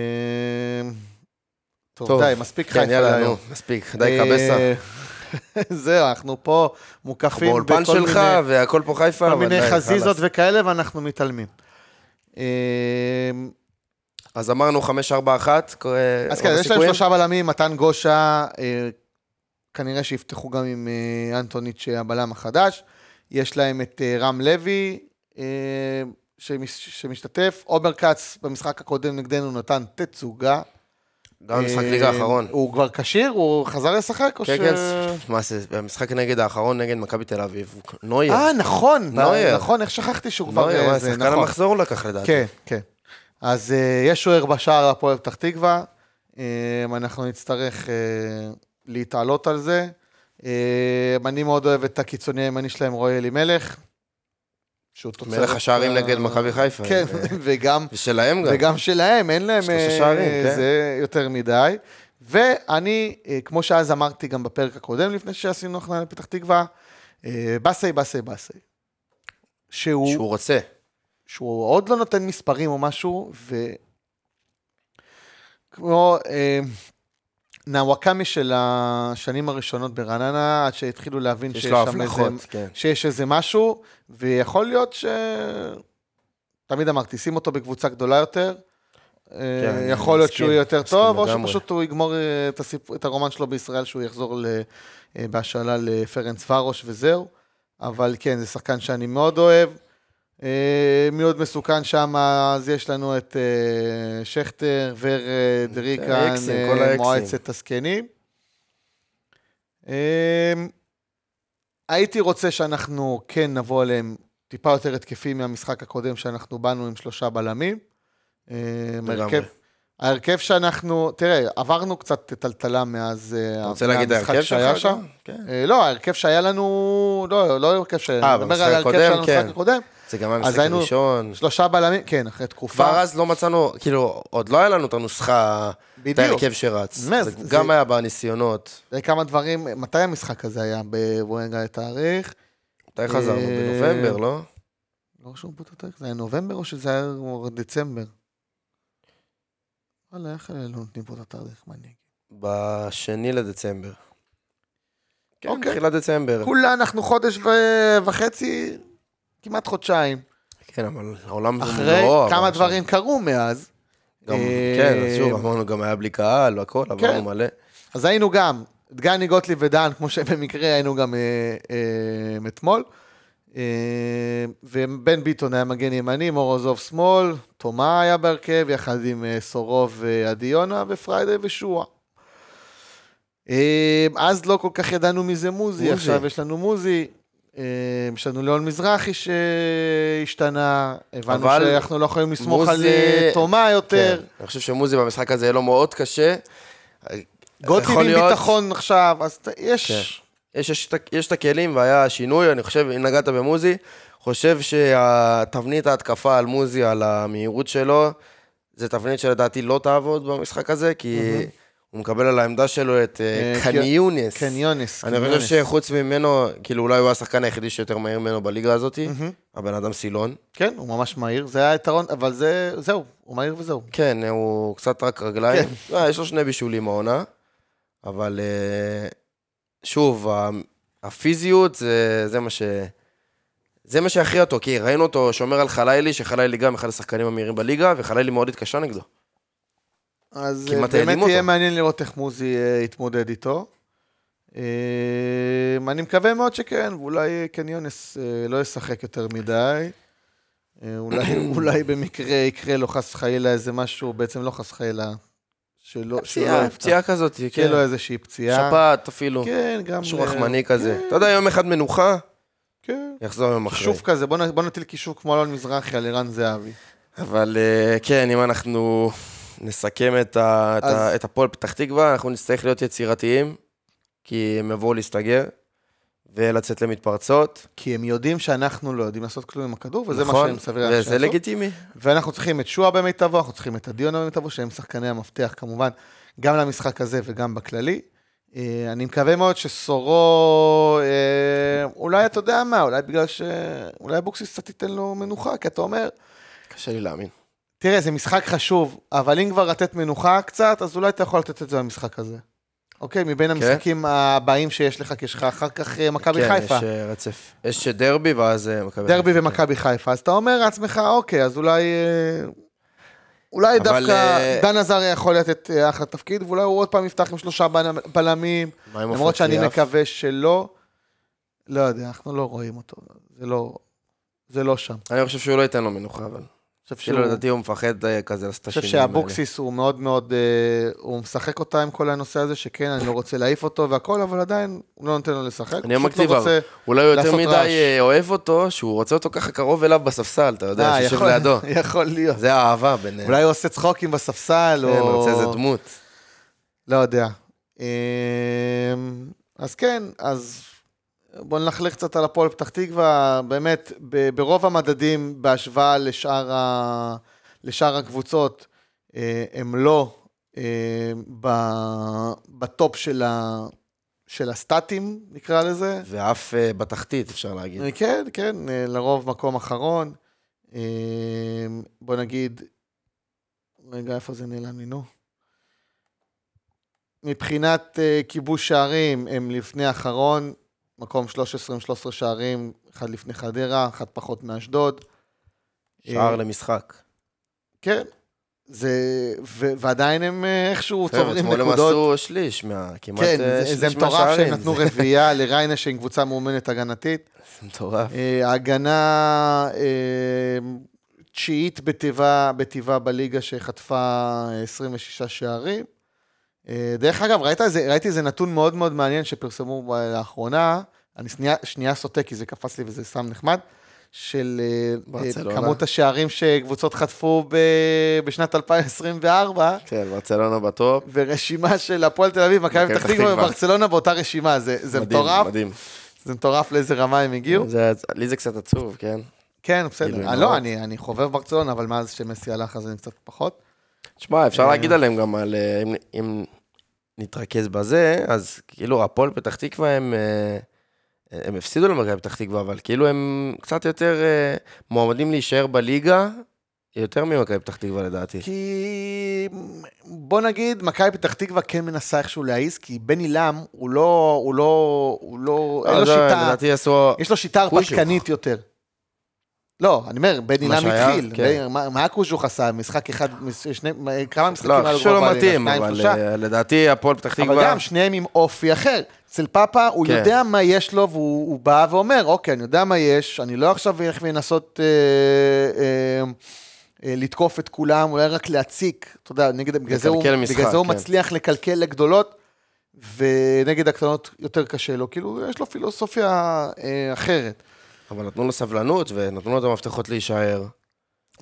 טוב. טוב, די, מספיק כן, חיפה יאללה, נו, להיום. מספיק. די, אה, קבסה. *laughs* זהו, אנחנו פה מוקפים באולפן בכל שלך, מיני- והכל פה חיפה, כל אבל מיני די, חזיזות חלאס. וכאלה, ואנחנו מתעלמים. אה, אז אמרנו 5-4-1. כ- אז רוב כן, יש להם הסיכויים. שלושה בלמים, מתן גושה, אה, כנראה שיפתחו גם עם אה, אנטוניץ' הבלם החדש. יש להם את אה, רם לוי, אה, שמש- שמשתתף. עומר כץ במשחק הקודם נגדנו נתן תצוגה. גם במשחק אה, ליגה האחרון. הוא כבר כשיר? הוא חזר לשחק? או כן, ש- כן, מה זה, במשחק נגד האחרון, נגד מכבי תל אביב, הוא כ- נויר. אה, נכון, נויר. נכון, איך שכחתי שהוא כבר... נויר, אה, מה, זה, שחקן נכון. המחזור הוא לקח לדעתי. כן, כן. אז אה, יש שוער בשער הפועל פתח תקווה, אה, אנחנו נצטרך אה, להתעלות על זה. אה, אני מאוד אוהב את הקיצוני הימני שלהם, רועי אלימלך. שהוא תוצר- מלך השערים נגד מכבי חיפה. כן, *laughs* ו- וגם, ושלהם גם. וגם שלהם, אין להם... שלושה אה, שערים, כן. זה יותר מדי. ואני, אה, כמו שאז אמרתי גם בפרק הקודם, לפני שעשינו הכנעה לפתח תקווה, אה, באסי, באסי, באסי. שהוא שהוא רוצה. שהוא עוד לא נותן מספרים או משהו, ו... כמו אה, נאווקמי של השנים הראשונות ברעננה, עד שהתחילו להבין יש לו שם הבלחות, איזה, כן. שיש איזה משהו, ויכול להיות ש... תמיד אמרתי, שים אותו בקבוצה גדולה יותר, אה, כן, אני יכול להיות מסכים, שהוא יהיה יותר מסכים טוב, או לגמרי. שפשוט הוא יגמור אה, את, הסיפ... את הרומן שלו בישראל, שהוא יחזור ל... אה, בהשאלה לפרנס פארוש וזהו. אבל כן, זה שחקן שאני מאוד אוהב. אה, מי עוד מסוכן שם? אז יש לנו את אה, שכטר, ורדריקן, אה, האקסים, כל האקסים. מועצת הזקנים. אה, הייתי רוצה שאנחנו כן נבוא אליהם טיפה יותר התקפי מהמשחק הקודם, שאנחנו באנו עם שלושה בלמים. אה, לגמרי. הרכב- ההרכב שאנחנו, תראה, עברנו קצת טלטלה מאז אה, אתה רוצה להגיד ההרכב שלך? שהיה גם? שם. כן. אה, לא, ההרכב שהיה לנו, לא, לא ההרכב שהיה לנו, אה, אני מדבר במשחק על ההרכב הקודם, שלנו במשחק כן. הקודם. זה גם היה אז המשחק היינו- הראשון. שלושה בלמים, כן, אחרי תקופה. כבר אז לא מצאנו, כאילו, עוד לא היה לנו את הנוסחה, את בדיוק. ההרכב שרץ. באמת, זה זה- גם היה בניסיונות. זה כמה דברים, מתי המשחק הזה היה? ב- בוא נגע תאריך. מתי חזרנו? אה, בנובמבר, לא? לא רשום פה את התאריך, זה היה נובמבר או שזה היה כבר דצמבר? וואלה, איך לא נותנים פה את התאריך, מה אני אגיד? בשני לדצמבר. כן, אוקיי. תחילת דצמבר. כולה אנחנו חודש ו- וחצי, כמעט חודשיים. כן, אבל העולם זה אחרי נורא, אבל כמה עכשיו- דברים קרו מאז. גם- אה, כן, אז שוב, אמרנו, גם היה בלי קהל והכל, עברנו כן. מלא. אז היינו גם, דגני גוטליב ודן, כמו שבמקרה היינו גם אה, אה, אתמול. אה, ובן ביטון היה מגן ימני, מורוזוב שמאל, תומה היה בהרכב, יחד עם אה, סורוב ועדי יונה ופריידי ושועה. אה, אז לא כל כך ידענו מי זה מוזי, מוזי. מוזי. עכשיו יש לנו מוזי. אה, יש לנו ליאון מזרחי שהשתנה, הבנו אבל שאנחנו לא יכולים לסמוך מוזי- על אה, תומה יותר. כן. אני חושב שמוזי במשחק הזה יהיה לו מאוד קשה. גוטליב כן. יכול עם להיות- כן. ביטחון עכשיו, אז ת- יש... יש, יש, את ה- יש את הכלים והיה שינוי, אני חושב, אם נגעת במוזי, חושב שתבנית ההתקפה על מוזי, על המהירות שלו, זה תבנית שלדעתי לא תעבוד במשחק הזה, כי הוא מקבל על העמדה שלו את אה, אה, קני כי- יונס. קניונס. אני חושב קניונס. שחוץ ממנו, כאילו אולי הוא השחקן היחידי שיותר מהיר ממנו בליגה הזאת, הבן אדם סילון. כן, הוא ממש מהיר, זה היה היתרון, אבל זה, זהו, הוא מהיר וזהו. כן, הוא קצת רק רגליים. כן. לא, יש לו שני בישולים העונה, אבל אה, שוב, ה- הפיזיות זה, זה מה ש... זה מה שהכריע אותו, כי ראינו אותו שומר על חלילי, שחלילי גם אחד השחקנים המהירים בליגה, וחלילי מאוד התקשה נגדו. אז כמעט אה, באמת העלים אותו. יהיה מעניין לראות איך מוזי אה, יתמודד איתו. אה, אני מקווה מאוד שכן, ואולי קן יונס אה, לא ישחק יותר מדי. אה, *coughs* אולי, אולי במקרה יקרה לו חס וחלילה איזה משהו, בעצם לא חס וחלילה, שלא... שלא פציעה, יפתח. פציעה כזאת, תהיה כן. לו איזושהי פציעה. שפעת אפילו. לא- כאילו, כן, גם... משהו אה, רחמני כזה. כן, אתה יודע, יום אחד מנוחה, כן. יחזור יום אחרי. כישוב כזה, בוא נ- בוא נטיל כישוב כמו אלון מזרחי על ערן זהבי. אבל אה, כן, אם אנחנו נסכם את ה- את אז- ה- את הפועל פתח תקווה, אנחנו נצטרך להיות יצירתיים, כי הם יבואו להסתגר ולצאת למתפרצות. כי הם יודעים שאנחנו לא יודעים לעשות כלום עם הכדור, וזה מה נכון? שהם סביר לאנשים וזה לעשות. לגיטימי. ואנחנו צריכים את שועה במיטבו, אנחנו צריכים את הדיונה במיטבו, שהם שחקני המפתח כמובן, גם למשחק הזה וגם בכללי. אה, אני מקווה מאוד שסורו, אה, אולי אתה יודע מה, אולי בגלל ש... אולי אבוקסיס קצת ייתן לו מנוחה, כי אתה אומר, קשה לי להאמין. תראה, זה משחק חשוב, אבל אם כבר לתת מנוחה קצת, אז אולי אתה יכול לתת את זה במשחק הזה. אוקיי, מבין המשחקים הבאים שיש לך, כי יש לך אחר כך אה, מכבי כן, חיפה. יש אה, רצף. יש דרבי ואז אה, מכבי דרבי חיפה. ומכבי חיפה. אז אתה אומר לעצמך, אוקיי, אז אולי... אה, אולי אבל, דווקא אה, דן עזריה יכול לתת אה, אחלה תפקיד, ואולי הוא עוד פעם יפתח עם שלושה בנ- בלמים, מה עם למרות שאני עופר קריאף? מקווה שלא. לא יודע, אנחנו לא רואים אותו. זה לא... זה לא שם. אני אני חושב שהוא לא ייתן לו מנוחה, אבל. חושב שהוא- כאילו, לדעתי הוא מפחד אה, כזה לעשות את אני חושב השינויים האלה. שאבוקסיס הוא מאוד מאוד, אה, הוא משחק אותה עם כל הנושא הזה, שכן, אני לא רוצה להעיף אותו והכל, אבל עדיין הוא לא נותן לו לשחק. הוא אני פשוט לא אמרתי כבר, רוצה- אולי הוא יותר לעשות מדי רעש. אה, אוהב אותו, שהוא רוצה אותו ככה קרוב אליו בספסל, אתה יודע, אה, שיושב יכול- לידו. *laughs* יכול להיות. זה האהבה ביניהם. אולי הוא עושה צחוקים בספסל, או... כן, הוא רוצה איזה דמות. לא יודע. אמ, אז כן, אז בואו נלכלך קצת על הפועל פתח תקווה. באמת, ב- ברוב המדדים בהשוואה לשאר, ה... לשאר הקבוצות, אה, הם לא אה, ב... בטופ של, ה... של הסטטים, נקרא לזה. ואף אה, בתחתית, אפשר להגיד. אה, כן, כן, אה, לרוב מקום אחרון. אה, בוא נגיד, רגע, איפה זה נעלם לי, נו? מבחינת אה, כיבוש שערים, הם לפני האחרון, מקום 13 עם 13 שערים, אחד לפני חדרה, אחד פחות מאשדוד. שער אה, למשחק. כן. זה, ו, ועדיין הם אה, איכשהו חבר'ה, צוברים אתמול הם נקודות. עשו שליש מה... כמעט כן, אה, זה, שליש זה מטורף שהם מהשערים. נתנו זה- רביעייה לריינה, שהם קבוצה מאומנת הגנתית. זה מטורף. אה, ההגנה אה, תשיעית בטבעה, בטבעה בליגה שחטפה 26 שערים. אה, דרך אגב, ראית איזה, ראיתי איזה נתון מאוד מאוד מעניין שפרסמו ב- לאחרונה, אני שנייה, שנייה סוטה כי זה קפץ לי וזה סתם נחמד, של אה, אה, ברצלונה. כמות השערים שקבוצות חטפו ב- בשנת 2024. כן, ברצלונה בטופ. ורשימה של הפועל תל אביב, מכבי פתח תקווה וברצלונה באותה רשימה, זה, זה מדהים, מטורף, מדהים. זה מטורף לאיזה רמה הם הגיעו. זה- לי זה קצת עצוב, כן? כן, בסדר. גילוי אני- נאות. לא, אני, אני חובב ברצלונה, אבל מאז שמסי הלך אז אני קצת פחות. תשמע, אפשר אה. להגיד עליהם גם על... אה, אם- אם נתרכז בזה, אז כאילו הפועל פתח תקווה הם... אה, הם הפסידו למכבי פתח תקווה, אבל כאילו הם קצת יותר אה, מועמדים להישאר בליגה, יותר ממכבי פתח תקווה לדעתי. כי בוא נגיד, מכבי פתח תקווה כן מנסה איכשהו להעיז, כי בני לם הוא לא, הוא לא, הוא לא, אין לו לא, זה- שיטה, לדעתי עשו... יש לו שיטה קוז'וך. הרפתקנית יותר. לא, אני אומר, בני מה לם שהיה, התחיל. כן. בני- מה- מה הקוז'וך עשה? משחק אחד, מש- שני, כמה משחקים לא, אני חושב כבר שלא בליגה? מתאים, שניים, אבל שלושה? אה, לדעתי הפועל פתח אבל תקווה... גם שניהם עם אופי אחר. אצל פאפה, הוא כן. יודע מה יש לו, והוא הוא בא ואומר, אוקיי, אני יודע מה יש, אני לא עכשיו אלך ולנסות אה, אה, אה, לתקוף את כולם, אולי רק להציק, אתה יודע, נגד, בגלל זה הוא, לקלקל משחק, בגלל זה הוא כן. מצליח לקלקל לגדולות, ונגד הקטנות יותר קשה לו, כאילו, יש לו פילוסופיה אה, אחרת. אבל נתנו לו סבלנות ונתנו לו את המפתחות להישאר.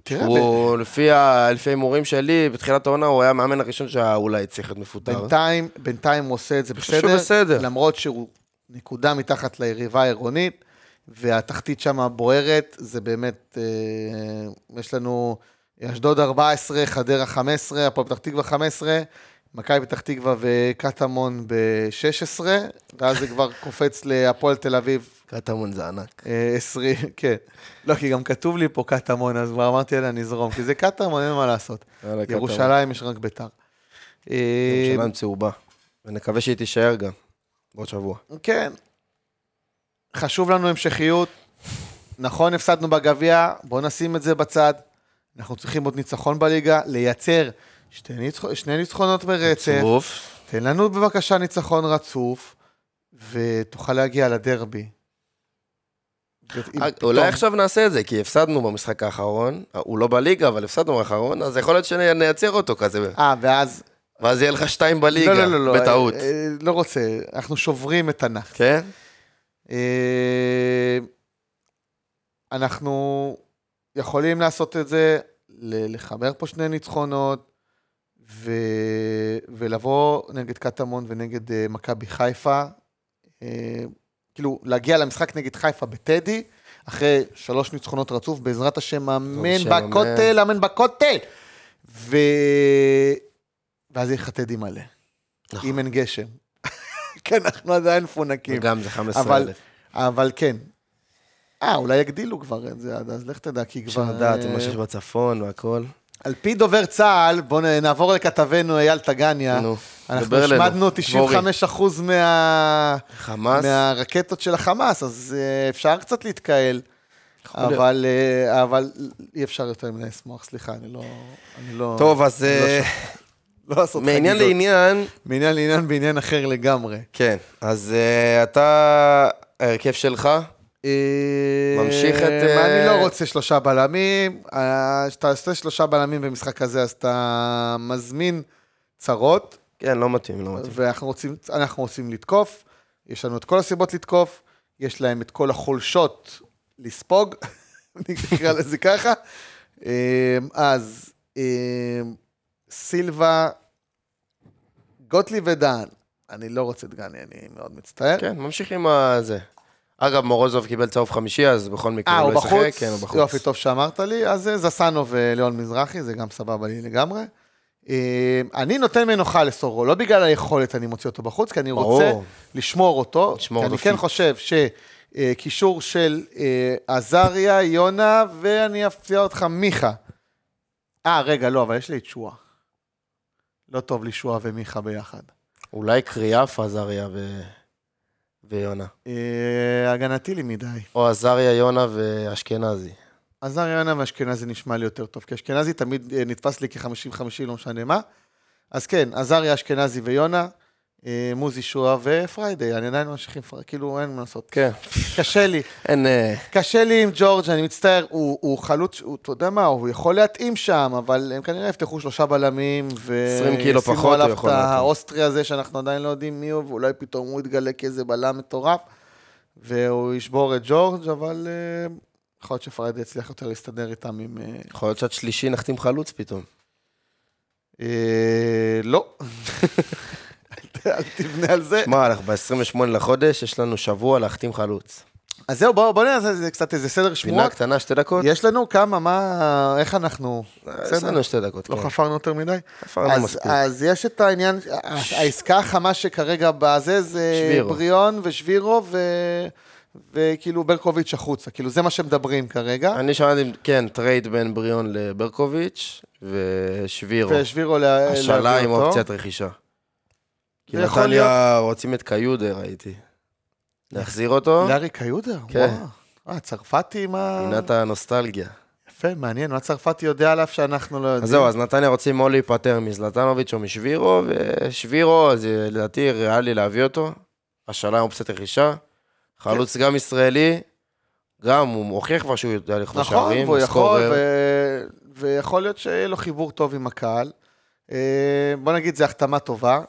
תראה, כן, ב- הוא, לפי ה- לפי ההימורים שלי, בתחילת העונה הוא היה המאמן הראשון שהיה אולי צריך להיות מפוטר. בינתיים, בינתיים הוא עושה את זה חושב שהוא בסדר, בסדר. למרות שהוא נקודה מתחת ליריבה העירונית, והתחתית שם בוערת, זה באמת, אה, יש לנו אשדוד 14, חדרה 15, הפועל פתח תקווה 15, מכבי פתח תקווה וקטמון ב-16, ואז זה כבר קופץ להפועל תל אביב קטמון זה ענק. אה, 20, *laughs* כן. לא, כי גם כתוב לי פה קטמון, אז כבר אמרתי, יאללה, נזרום, כי זה קטמון, אין מה לעשות. יאללה, קטמון. ירושלים יש רק ביתר. אה, ירושלים צהובה. ונקווה שהיא תישאר גם. בעוד שבוע. כן. חשוב לנו המשכיות. נכון, הפסדנו בגביע, בואו נשים את זה בצד. אנחנו צריכים עוד ניצחון בליגה, לייצר שתי ניצח- שני ניצחונות ברצף, צירוף. תן לנו בבקשה ניצחון רצוף, ותוכל להגיע לדרבי. אה, אולי עכשיו נעשה את זה, כי הפסדנו במשחק האחרון, אה, הוא לא בליגה, אבל הפסדנו באחרון, אז יכול להיות שנייצר אותו כזה, אה, ואז... ואז יהיה לך שתיים בליגה, לא, לא, לא, לא. בטעות. אה, אה, לא רוצה, אנחנו שוברים את הנח. כן? אה, אנחנו יכולים לעשות את זה, ל- לחבר פה שני ניצחונות, ו... ולבוא נגד קטמון ונגד אה, מכבי חיפה. אה, כאילו, להגיע למשחק נגד חיפה בטדי, אחרי שלוש ניצחונות רצוף, בעזרת השם, אמן השם, בכותל, אמן בכותל! ו... ואז יהיה לך טדי מלא. נכון. אם אין גשם. *laughs* כי אנחנו עדיין מפונקים. וגם זה 15 כן. אבל, אלף. אבל כן. אה, אולי יגדילו כבר את זה עד אז, לך תדע, כי אפשר כבר... לדעת אה, מה שיש בצפון והכל. על פי דובר צה"ל, בואו נעבור לכתבנו אייל טגניה. נו, אנחנו דבר אלינו. השמדנו דבורי. 95% מה... חמאס? מהרקטות של החמאס, אז אה, אפשר קצת להתקהל, יכול להיות. אבל, אה, אבל אי אפשר יותר מדי לשמוח, סליחה, אני לא... אני לא טוב, אז אני לא אה, לא לעשות מעניין חגיגות. לעניין, מעניין לעניין בעניין אחר לגמרי. כן, אז אה, אתה, ההרכב שלך? אה, ממשיך את, מה, אה, אני לא רוצה שלושה בלמים. אה, כשאתה עושה שלושה בלמים במשחק הזה, אז אתה מזמין צרות, כן, לא מתאים, לא מתאים. ואנחנו רוצים, אנחנו רוצים לתקוף. יש לנו את כל הסיבות לתקוף, יש להם את כל החולשות לספוג, *laughs* נקרא לזה ככה. אה, אז אה, סילבה, גוטליב ודן. אני לא רוצה את גני, אני מאוד מצטער. כן, ממשיך עם ה- זה. אגב, מורוזוב קיבל צהוב חמישי, אז בכל מקרה אה, הוא הוא לא ישחק. בחוץ? כן, הוא בחוץ. יופי, טוב שאמרת לי. אז אה, זסנו וליאון מזרחי, זה גם סבבה לי לגמרי. אה, אני נותן מנוחה לסורו, לא בגלל היכולת אני מוציא אותו בחוץ, כי אני רוצה ברור. לשמור אותו. לשמור כי אני אותו כן פיט. חושב שקישור של אה, עזריה, יונה, ואני אפתיע אותך, מיכה. אה, רגע, לא, אבל יש לי את שועה. לא טוב לי שועה ומיכה ביחד. אולי קריאף, עזריה ו... ויונה. אה, הגנתי לי מדי. או עזריה, יונה ואשכנזי. עזר יונה ואשכנזי נשמע לי יותר טוב, כי אשכנזי תמיד אה, נתפס לי כ-50-50, לא משנה מה. אז כן, עזריה, אשכנזי ויונה, אה, מוזי שועה ופריידי, אני עדיין ממשיך עם פריידי, כאילו אין מה לעשות. כן. קשה לי, אין... אה, קשה לי עם ג'ורג', אני מצטער, הוא, הוא חלוץ, הוא, אתה יודע מה, הוא יכול להתאים שם, אבל הם כנראה יפתחו שלושה בלמים, ו... 20 קילו ישימו פחות הוא עליו יכול את להתאים. האוסטרי הזה, שאנחנו עדיין לא יודעים מי הוא, ואולי פתאום הוא יתגלה כאיזה בלם מטורף, והוא ישבור את ג'ורג', אבל אה, יכול להיות שפריידי יצליח יותר להסתדר איתם עם... אה, יכול להיות שעד שלישי נחתים חלוץ פתאום. אה, לא. אל ת- אל תבנה על זה. מה, אנחנו ב-28 לחודש, יש לנו שבוע להחתים חלוץ. אז זהו, בואו בוא נעשה איזה- קצת איזה סדר פינה שמועות. קטנה, שתי דקות? יש לנו כמה, מה, איך אנחנו... יש לנו שתי דקות, לא אה, כן. חפרנו יותר מדי? חפרנו אז- לא מספיק. אז יש את העניין, העסקה החמה שכרגע בזה זה שבירו. בריון ושבירו ו- וכאילו ברקוביץ' החוצה, כאילו זה מה שמדברים כרגע, אני שמעתי, כן, טרייד בין בריאון לברקוביץ' ושבירו. ושבירו לה- השאלה להביא עם אותו. אופציית רכישה. כי זה יכול נתניה רוצים את קיודה, ראיתי. להחזיר אותו, לארי קיודר, כן. וואו. אה, צרפתי עם ה... פינת הנוסטלגיה. יפה, מעניין, מה צרפתי יודע עליו שאנחנו לא יודעים. אז זהו, אז נתניה רוצים או להיפטר מזלטנוביץ' או משבירו, ושבירו, אז אה, לדעתי ריאלי להביא אותו. השאלה עם אופציית רכישה. חלוץ גם ישראלי, גם הוא הוכיח כבר שהוא יודע לכבוש נכון, שערים, והוא יכול, סקורר. ו... ויכול להיות שיהיה לו חיבור טוב עם הקהל. אה, בוא נגיד, זו החתמה טובה,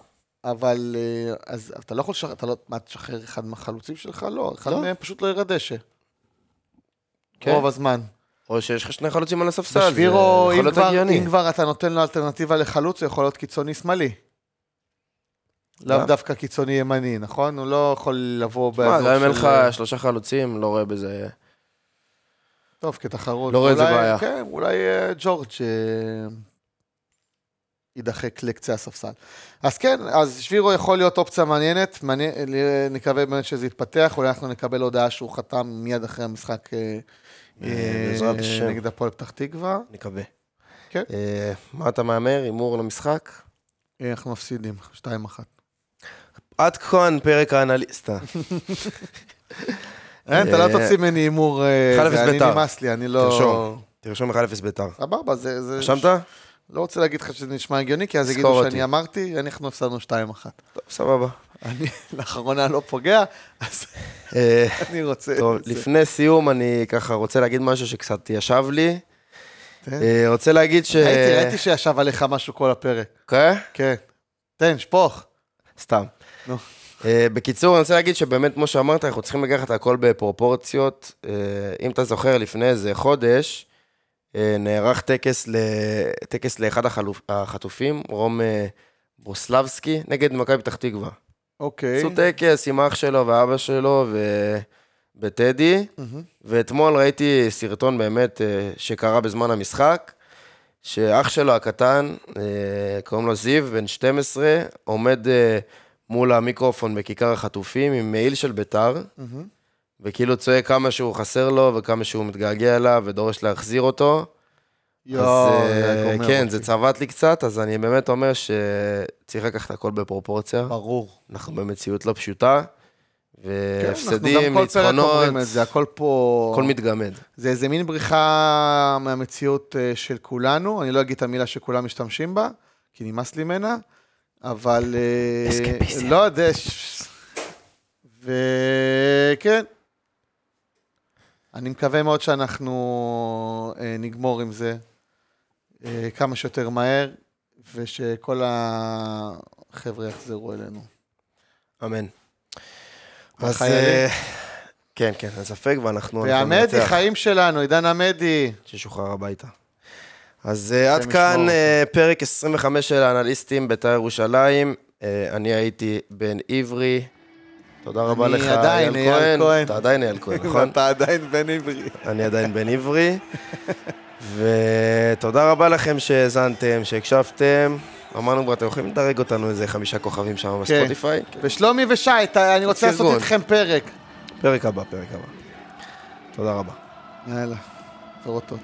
אבל אה, אז אתה לא יכול לשחרר, אתה לא, מה, תשחרר אחד מהחלוצים שלך? לא, אחד לא. מהם פשוט לא ירד דשא. כן. רוב הזמן. או שיש לך שני חלוצים על הספסל, זה בשבירו, יכול אם להיות כבר, הגיוני. אם כבר אתה נותן לו אלטרנטיבה לחלוץ, הוא יכול להיות קיצוני שמאלי. לאו גם. דווקא קיצוני ימני, נכון? הוא לא יכול לבוא מה, באזור לא. גם אם אין לך של- אה, שלושה חלוצים, לא רואה בזה... טוב, כתחרות. לא רואה איזה אולי- בעיה. כן, אולי אה, ג'ורג' אה, יידחק לקצה הספסל. אז כן, אז שבירו יכול להיות אופציה מעניינת, מעניין, אה, נקווה באמת שזה יתפתח, אולי אנחנו נקבל הודעה שהוא חתם מיד אחרי המשחק אה, אה, בעזרת השם. נגד הפועל פתח תקווה. נקווה. כן. אה, מה אתה מהמר? הימור למשחק? אה, אנחנו מפסידים, 2-1. עד כאן פרק *laughs* האנליסטה. אין, אתה לא אה, תוציא ממני הימור, אה, אחד אפס ואני בית"ר. נמאס לי, אני לא... תרשום. תרשום 1-0 ביתר. סבבה, זה... זה- רשמת? לא רוצה להגיד לך שזה נשמע הגיוני, כי אז תזכור יגידו אותי. שאני אמרתי, אנחנו הפסדנו 2-1. טוב, סבבה. אני לאחרונה לא פוגע, אז אה, *laughs* אני רוצה... טוב, את זה. לפני סיום, אני ככה רוצה להגיד משהו שקצת ישב לי. תן. אה, רוצה להגיד ש... ראיתי, ראיתי שישב עליך משהו כל הפרק. כן? כן. תן, שפוך. סתם. נו. אה, בקיצור, אני רוצה להגיד שבאמת, כמו שאמרת, אנחנו צריכים לקחת הכל בפרופורציות. אה, אם אתה זוכר, לפני איזה חודש אה, נערך טקס, ל... טקס לאחד החלופ... החטופים, רום אה, ברוסלבסקי, נגד מכבי פתח תקווה. אוקיי. עשו טקס עם אח שלו ואבא שלו ובטדי, מהמם. ואתמול ראיתי סרטון באמת אה, שקרה בזמן המשחק, שאח שלו הקטן, אה, קוראים לו זיו, בן 12, עומד אה, מול המיקרופון בכיכר החטופים עם מעיל של ביתר, מהמם. וכאילו צועק כמה שהוא חסר לו וכמה שהוא מתגעגע אליו ודורש להחזיר אותו. יואו, אז אה, זה גומר כן, אותי. זה צבט לי קצת, אז אני באמת אומר שצריך לקחת הכל בפרופורציה. ברור. אנחנו במציאות לא פשוטה, אה, כן, והפסדים, אנחנו גם כל פרק ניצחונות, אומרים את זה, הכל פה... הכל מתגמד. זה איזה מין בריחה מהמציאות אה, של כולנו, אני לא אגיד את המילה שכולם משתמשים בה, כי נמאס לי ממנה, אבל... אה, אסקפיזם. לא יודע, ש- וכן. אני מקווה מאוד שאנחנו אה, נגמור עם זה אה, כמה שיותר מהר, ושכל החבר'ה יחזרו אלינו. אמן. אז... והחיילים? אה, כן, כן, אין ספק, ואנחנו... אנחנו והמדי, ננצח חיים שלנו, עידן עמדי. ששוחרר הביתה. אז אה, עד השם כאן ישמור אה, פרק 25 של האנליסטים בית"ר ירושלים. אה, אני הייתי בן עברי. תודה רבה לך, עדיין אייל כהן. אתה עדיין אייל *laughs* כהן, נכון? אתה עדיין בן עברי. אני עדיין בן עברי. ותודה רבה לכם שהאזנתם, שהקשבתם. אמרנו כבר, אתם יכולים לדרג אותנו איזה חמישה כוכבים כן. שם בספוטיפיי. כן. ושלומי ושי, ת- אני רוצה לעשות פרגון. איתכם פרק. פרק הבא, פרק הבא. תודה רבה. יאללה, פרוטות.